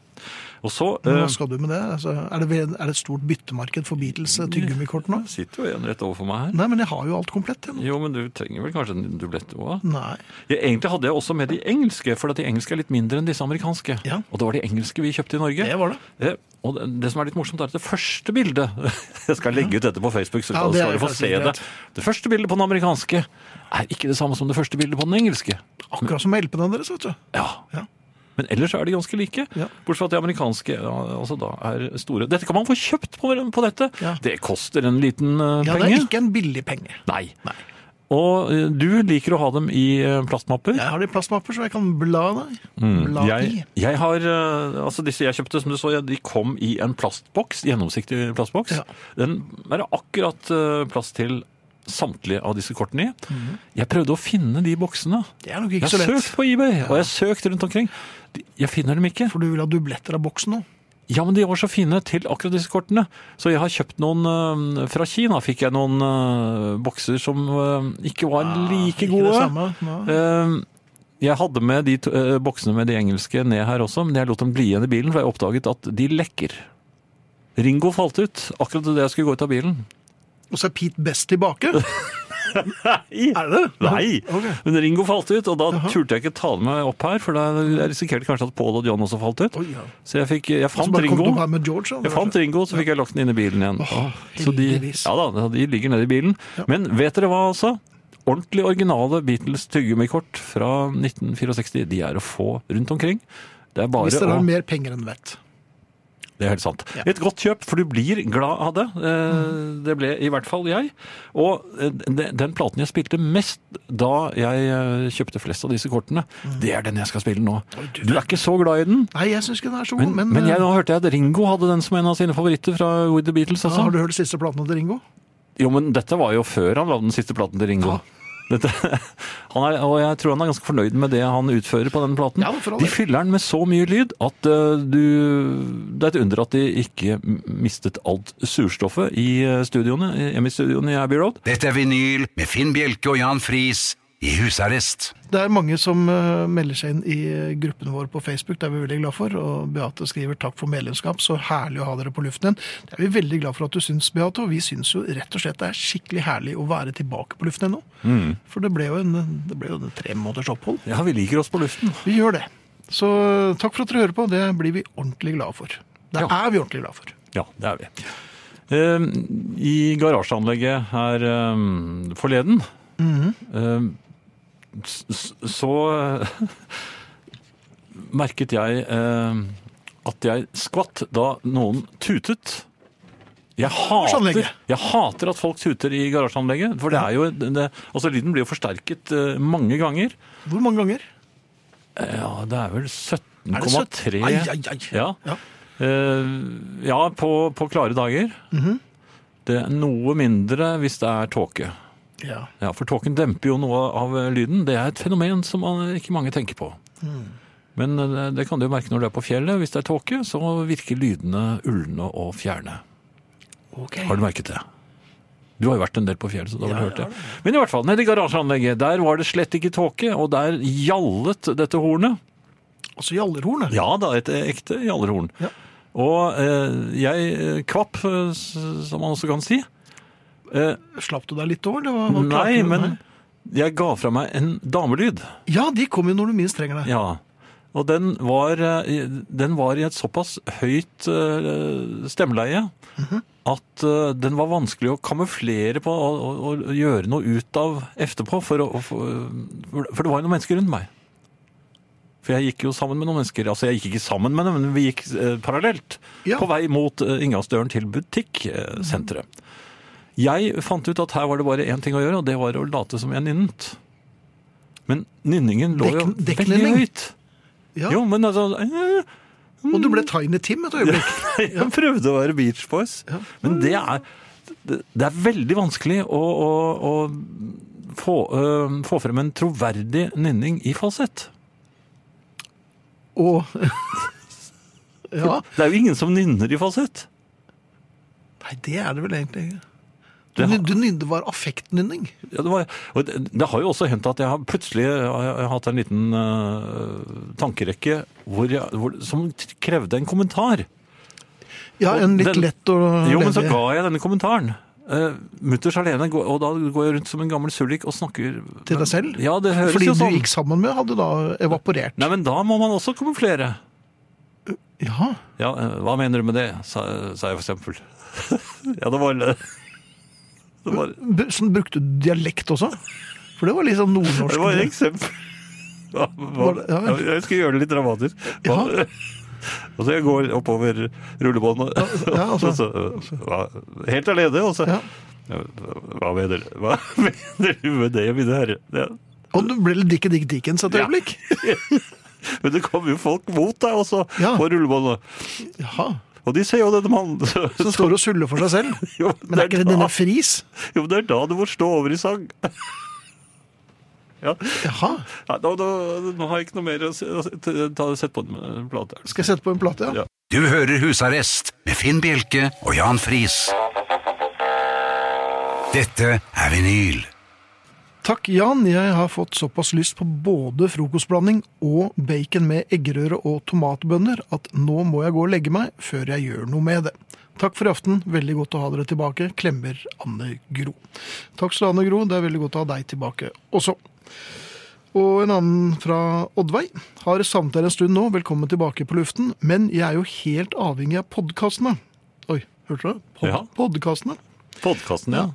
S2: Og så
S1: Hva
S2: eh,
S1: skal du med det? Altså, er, det ved- er det et stort byttemarked for Beatles eh, tyggegummikort nå?
S2: sitter jo en rett overfor meg her.
S1: Nei, men jeg har jo alt komplett. Jeg. nå.
S2: Jo, men du trenger vel kanskje en dublett òg?
S1: Nei.
S2: Egentlig hadde jeg også med de engelske, for at de engelske er litt mindre enn disse amerikanske.
S1: Ja.
S2: Og det var de engelske vi kjøpte i Norge.
S1: Det var det.
S2: Eh, Og det- det som er litt morsomt, er at det første bildet [LAUGHS] Jeg skal legge ut dette på Facebook, så
S1: Ja,
S2: skal
S1: det er
S2: skal du få
S1: kanskje
S2: se
S1: greit.
S2: det. Det første bildet på den amerikanske er ikke det samme som det første bildet på den engelske.
S1: Akkurat som med LP-ene deres, vet du.
S2: Ja.
S1: Ja.
S2: Men ellers er de ganske like.
S1: Ja.
S2: Bortsett fra at de amerikanske ja, altså da er store. Dette kan man få kjøpt på, på dette.
S1: Ja.
S2: Det koster en liten eh,
S1: Ja, det
S2: penge.
S1: er ikke en billig penge.
S2: Nei. Og eh, du liker å ha dem i eh, plastmapper.
S1: Jeg har det i plastmapper, så jeg kan bla i. Bla
S2: Mm. Jeg,
S1: i.
S2: jeg har, eh, altså Disse jeg kjøpte, som du så, ja, de kom i en plastboks, gjennomsiktig plastboks.
S1: Ja.
S2: Den er det akkurat eh, plass til samtlige av disse kortene i. Jeg prøvde å finne de boksene.
S1: Det er nok Mhm. ikke
S2: Jeg har
S1: så lett.
S2: søkt på eBay, og jeg har søkt rundt omkring. De- Jeg finner dem ikke.
S1: For du vil ha dubletter av boksen nå.
S2: Ja, men de var så fine til akkurat disse kortene. Så jeg har kjøpt noen eh, fra Kina. Fikk jeg noen eh, bokser som eh, ikke var like
S1: Ah, Ikke det
S2: gode.
S1: samme. Nei.
S2: Eh, Jeg hadde med de to- eh, boksene med de engelske ned her også, men jeg lot dem bli igjen i bilen, for jeg oppdaget at de lekker. Ringo falt ut akkurat da jeg skulle gå ut av bilen.
S1: Og så er Pete Best
S2: [LAUGHS]
S1: tilbake.
S2: Nei!
S1: Er det det?
S2: Nei!
S1: Ok.
S2: Men Ringo falt ut, og da turte jeg ikke ta det med opp her, for da jeg risikerte kanskje at Paul og John også falt ut.
S1: Oi, ja.
S2: Så jeg, fikk, jeg
S1: Så
S2: fant
S1: bare kom du
S2: Ringo.
S1: her med George. da.
S2: Jeg fant Ringo, så fikk jeg lagt den inn i bilen igjen.
S1: Åh,
S2: Så de,
S1: heldigvis.
S2: ja da, de ligger nede i bilen. Men vet dere hva, altså? Ordentlig originale Beatles tyggegummikort fra 1964, de er å få rundt omkring. Det er bare
S1: Hvis dere
S2: å
S1: har mer penger enn vett.
S2: det er helt sant.
S1: Ja. Mm.
S2: Et godt kjøp, for du blir glad av det. Eh, Det ble i hvert fall jeg. Og eh, de- den platen jeg spilte mest da jeg eh, kjøpte flest av disse kortene,
S1: Mm.
S2: det er den jeg skal spille nå. Du er ikke så glad i den,
S1: Nei, jeg syns ikke den er så god,
S2: men,
S1: men,
S2: men jeg,
S1: eh,
S2: nå hørte jeg at Ringo hadde den som en av sine favoritter fra With The Beatles. Altså.
S1: har du hørt de siste platene til Ringo?
S2: Jo, men dette var jo før han lagde den siste platen til Ringo. Dette, [LAUGHS] han er, og jeg tror han er ganske fornøyd med det han utfører på den platen.
S1: Ja, for all
S2: de
S1: del.
S2: fyller den med så mye lyd at eh, du Det er et under at de ikke mistet alt surstoffet i eh, studioene, i EMI-studioene i Abbey Road.
S3: Dette er vinyl med Finn Bjelke og Jan Friis i husarrest.
S1: Det er mange som eh, melder seg inn i gruppen vår på Facebook, det er vi veldig glad for. Og Beate skriver 'takk for medlemskap', så herlig å ha dere på luften igjen. Det er vi veldig glad for at du syns, Beate, og vi syns jo rett og slett det er skikkelig herlig å være tilbake på luften igjen nå.
S2: Mm.
S1: For det ble jo en, det ble jo en tre måneders opphold.
S2: Ja, vi liker oss på luften.
S1: Vi gjør det. Så eh, takk for at dere hører på, det blir vi ordentlig glade for. Det
S2: Ja.
S1: er vi ordentlig glade for.
S2: Ja, det er vi. Eh, I garasjeanlegget her eh, forleden eh, s- s- så [LAUGHS] eh, merket jeg eh, at jeg skvatt da noen tutet. Jeg hater,
S1: Garasjeanlegget.
S2: jeg hater at folk tuter i garasjeanlegget. For det er jo, det, altså lyden blir jo forsterket eh, mange ganger.
S1: Hvor mange ganger?
S2: Ja, det er vel
S1: Er det
S2: 17,3
S1: 17? Ai, ai, ai.
S2: Ja.
S1: Ja.
S2: Eh, ja, på, på klare dager.
S1: Mhm.
S2: Det er noe mindre hvis det er tåke.
S1: Ja.
S2: Ja, For tåken demper jo noe av eh, lyden. Det er et fenomen som eh, ikke mange tenker på.
S1: Mm.
S2: Men eh, det kan du jo merke når du er på fjellet. Hvis det er tåke, så virker lydene ulne og fjerne.
S1: Ok.
S2: Har du merket det? Du har jo vært en del på fjellet, så du har vel hørt det. Men i hvert fall, nede i garasjeanlegget, der var det slett ikke tåke, og der gjallet dette hornet.
S1: Altså gjallerhornet.
S2: Ja da, et ekte gjallerhorn.
S1: Ja.
S2: Og eh, jeg eh, kvapp, eh, s- som man også kan si. Eh,
S1: Slapp du deg litt over? Det var, var klart
S2: nei,
S1: du-
S2: men jeg ga fra meg en damelyd.
S1: Ja, de kommer jo når du minst trenger det.
S2: Ja. Og den var, eh, i- den var i et såpass høyt eh, stemmeleie
S1: Mhm.
S2: at eh, den var vanskelig å kamuflere på og, og, og gjøre noe ut av etterpå. For, å, for, for det var jo noen mennesker rundt meg. For jeg gikk jo sammen med noen mennesker. Altså, jeg gikk ikke sammen med dem, men vi gikk eh, parallelt.
S1: Ja.
S2: På vei mot eh, inngangsdøren til butikksenteret. Jeg fant ut at her var det bare én ting å gjøre, og det var å late som jeg nynnet. Men nynningen lå jo
S1: Dekk-
S2: veldig
S1: dekknynning.
S2: høyt.
S1: Ja.
S2: Jo, men altså [LAUGHS] eh,
S1: Og du ble Tiny Tim et øyeblikk.
S2: Jeg prøvde å være Beach Boys. Men det er, det det er veldig vanskelig å, å, å få, eh, få frem en troverdig nynning i falsett.
S1: Og [LAUGHS] Ja.
S2: Det er jo ingen som nynner i falsett.
S1: Nei, det er det vel egentlig. ikke. Du,
S2: Det har-
S1: du nynde var affektnynning.
S2: Ja, det, var, og det, det har jo også hendt at jeg har plutselig har jeg hatt en liten eh, tankerekke hvor jeg, hvor, som krevde en kommentar.
S1: Ja,
S2: Og
S1: en litt
S2: den-
S1: lett og
S2: Jo, men så
S1: ledig-
S2: ga jeg denne kommentaren. Uh, Mutters alene, går- og da går jeg rundt som en gammel sullik og snakker
S1: til deg selv.
S2: Ja, det høres
S1: Fordi
S2: jo sånn.
S1: du gikk sammen med, hadde da evaporert.
S2: Nei, men da må man også kamuflere.
S1: Ja.
S2: Ja, eh, hva mener du med det, sa, sa jeg for eksempel. [LAUGHS] ja, det var, det var,
S1: B- Sånn brukte du dialekt også? For det var litt sånn nordnorsk.
S2: [LAUGHS] det var et eksempel. Hva, hva,
S1: Var det- ja vel.
S2: jeg, jeg skal gjøre det litt dramatisk. Hva, [LAUGHS] Og så jeg går oppover rullebåndet,
S1: ja, altså.
S2: og [LAUGHS] så, eh, hva- helt alene, og så
S1: Ja.
S2: Hva mener, hva [LAUGHS] mener du med det, mine herrer? Ja.
S1: Og du ble litt Dickie Dick Dickens et
S2: Ja.
S1: sånn øyeblikk.
S2: Men det kommer jo folk mot deg også,
S1: Ja.
S2: på rullebåndet.
S1: Ja.
S2: Og de ser jo denne mannen. [LAUGHS] Så,
S1: Så står du og suller for seg selv.
S2: [LAUGHS] jo,
S1: Men det er ikke det
S2: da-
S1: denne fris?
S2: Jo, men det er da du må stå over i sang. [LAUGHS] ja.
S1: Jaha.
S2: Nei, nå, nå, nå har jeg ikke noe mer å se- å se- ta- ta- sette på den eh, plata.
S1: Skal jeg sette på en plate? Ja.
S2: Ja.
S3: Du hører Husarrest med Finn Bjelke og Jan Friis. Dette er vinyl.
S1: Takk, Jan. Jeg har fått såpass lyst på både frokostblanding og bacon med eggerøre og tomatbønner at nå må jeg gå og legge meg før jeg gjør noe med det. Takk for i aften. Veldig godt å ha dere tilbake. Klemmer Anne Gro. Takk skal du ha, Anne Gro. Det er veldig godt å ha deg tilbake også. Og en annen fra Oddveig. Har savnet dere en stund nå. Velkommen tilbake på luften. Men jeg er jo helt avhengig av podkastene. Oi, hørte du det? Pod
S2: Ja.
S1: Podkastene.
S2: Podkasten, ja.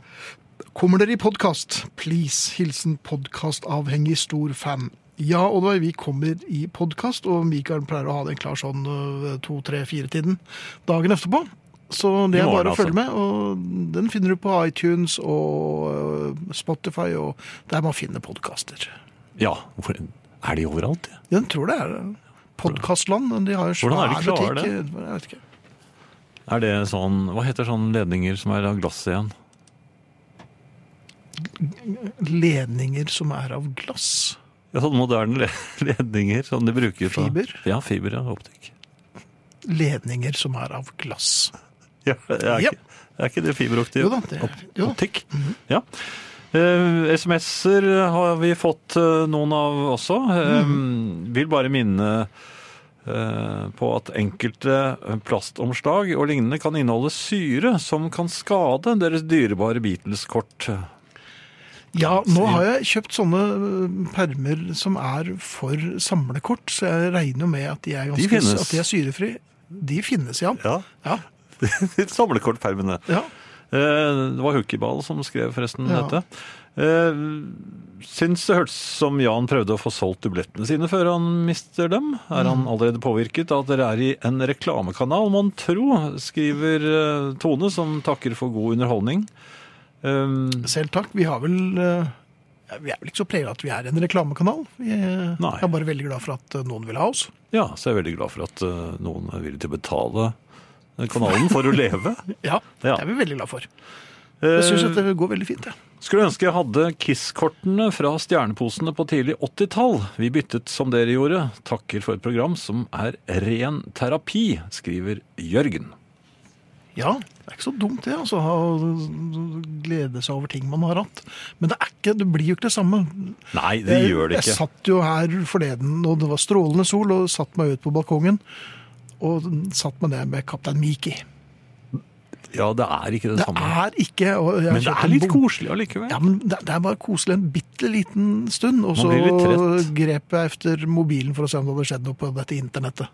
S1: Kommer dere i podkast? Please. Hilsen podkastavhengig stor fan. Ja, Oddvar, vi kommer i podkast, og Mikael pleier å ha den klar sånn to-tre-fire-tiden dagen etterpå. Så det
S2: I
S1: er
S2: morgen,
S1: bare å
S2: altså.
S1: følge med, og den finner du på iTunes og øh, Spotify og der man finner podkaster.
S2: ja. Hvor- Er de overalt? ja?
S1: Den tror det er podkastland. De har jo
S2: Hvordan er de
S1: svær
S2: klarer
S1: butikk. Jeg vet ikke.
S2: Er det sånn Hva heter sånne ledninger som er av glass igjen?
S1: ledninger som er av glass.
S2: Ja, sånne moderne le- [LAUGHS] ledninger som de bruker på
S1: Fiber?
S2: Ja, fiber og optikk.
S1: Ledninger som er av glass.
S2: Ja, er,
S1: Ja.
S2: ikke, er ikke det fiberoptikk?
S1: Jo da, det-
S2: Opp-
S1: jo da.
S2: Optikk, ja. Mhm. Eh, SMS-er har vi fått eh, noen av også. Eh, Vil bare minne eh, på at enkelte eh, plastomslag og lignende kan inneholde syre som kan skade deres dyrebare Beatles-kort.
S1: Ja, nå har jeg kjøpt sånne øh, permer som er for samlekort, så jeg regner jo med at de er, ganske,
S2: finnes.
S1: at de er syrefri. De finnes, ja.
S2: Ja, [LAUGHS]
S1: Ja,
S2: samlekortpermene.
S1: ja.
S2: Eh, Det var Hukkiball som skrev forresten
S1: Ja.
S2: dette. Eh, Syns det hørtes som Jan prøvde å få solgt dublettene sine før han mister dem. Er
S1: Mm.
S2: han allerede påvirket av at dere er i en reklamekanal, mon tro? Skriver eh, Tone, som takker for god underholdning. Eh,
S1: Selv takk. Vi har vel øh, ja, Vi er vel ikke så preget at vi er en reklamekanal. Vi øh,
S2: Nei.
S1: er bare veldig glad for at øh, noen vil ha oss.
S2: Ja, så jeg er veldig glad for at eh, noen er villig til å betale eh, kanalen for å leve.
S1: Ja, det
S2: Ja.
S1: er vi veldig glad for. [LAUGHS]
S2: Eh,
S1: Jeg syns dette går veldig fint, jeg.
S2: Skulle ønske jeg hadde Kiss-kortene fra stjerneposene på tidlig 80-tall. Vi byttet som dere gjorde. Takker for et program som er ren terapi, skriver Jørgen.
S1: Ja, det er ikke så dumt det, altså. Å glede seg over ting man har hatt. Men det, er ikke, det blir jo ikke det samme.
S2: Nei, det
S1: Jeg-
S2: gjør det
S1: Jeg
S2: ikke.
S1: satt jo her forleden, og det var strålende sol, og satt meg ut på balkongen. Og satt meg ned med Kaptein Miki.
S2: Ja, det er ikke det,
S1: Det
S2: samme.
S1: er ikke og jeg har
S2: Men det
S1: kjøpt
S2: er
S1: en
S2: litt
S1: bok-
S2: koselig allikevel.
S1: Ja, men det, det er bare koselig en bitte liten stund. Og
S2: Man
S1: så
S2: blir litt trett.
S1: grep jeg efter mobilen for å se om det hadde skjedd noe på dette internettet.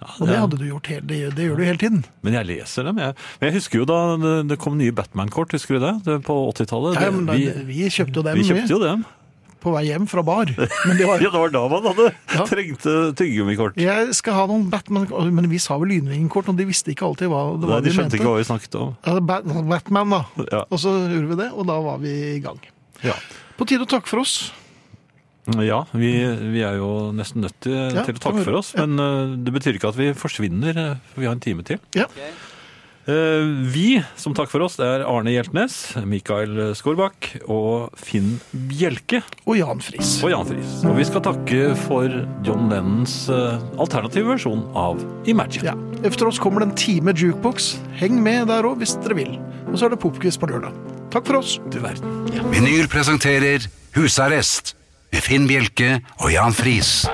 S1: Og det
S2: ja.
S1: hadde du gjort, hele, det, det gjør du hele tiden.
S2: Men jeg leser dem. Jeg. Men jeg husker jo da det- det kom nye Batman-kort, husker du det? det på 80-tallet.
S1: Ja, men,
S2: Det-
S1: da-
S2: vi,
S1: vi kjøpte jo dem,
S2: vi kjøpte jo dem.
S1: på vei hjem fra
S2: [LAUGHS]
S1: bar. Men det var
S2: Ja, det var da man hadde
S1: Ja.
S2: trengte tyggegummikort.
S1: Jeg skal ha noen Batman Men vi sa vel Lynvingen-kort, og de visste ikke alltid hva det
S2: Nei,
S1: var
S2: De
S1: de,
S2: skjønte
S1: mente.
S2: ikke hva vi snakket om.
S1: Ja, Bat- Batman, da.
S2: Ja.
S1: Og så gjorde vi det, og da var vi i gang.
S2: Ja.
S1: På tide å takke for oss.
S2: Ja, vi, vi er jo nesten nødt til,
S1: Ja,
S2: til å takke for oss, men eh, det betyr ikke at vi forsvinner, eh, for vi har en time til.
S1: Ja.
S2: Eh, Vi som takker for oss, det er Arne Hjeltnes, Mikael Skårbakk og Finn Bjelke
S1: Og Jan Friis.
S2: og Jan Friis. Og vi skal takke for John Lennons eh, alternative versjon av Imagine.
S1: Ja. Efter oss kommer det en time jukebox. Heng med der òg, hvis dere vil. Og så er det popquiz på lørdag. Takk for oss.
S2: Du verden.
S3: Vinyl presenterer Husarrest med Finn Bjelke og Jan Friis.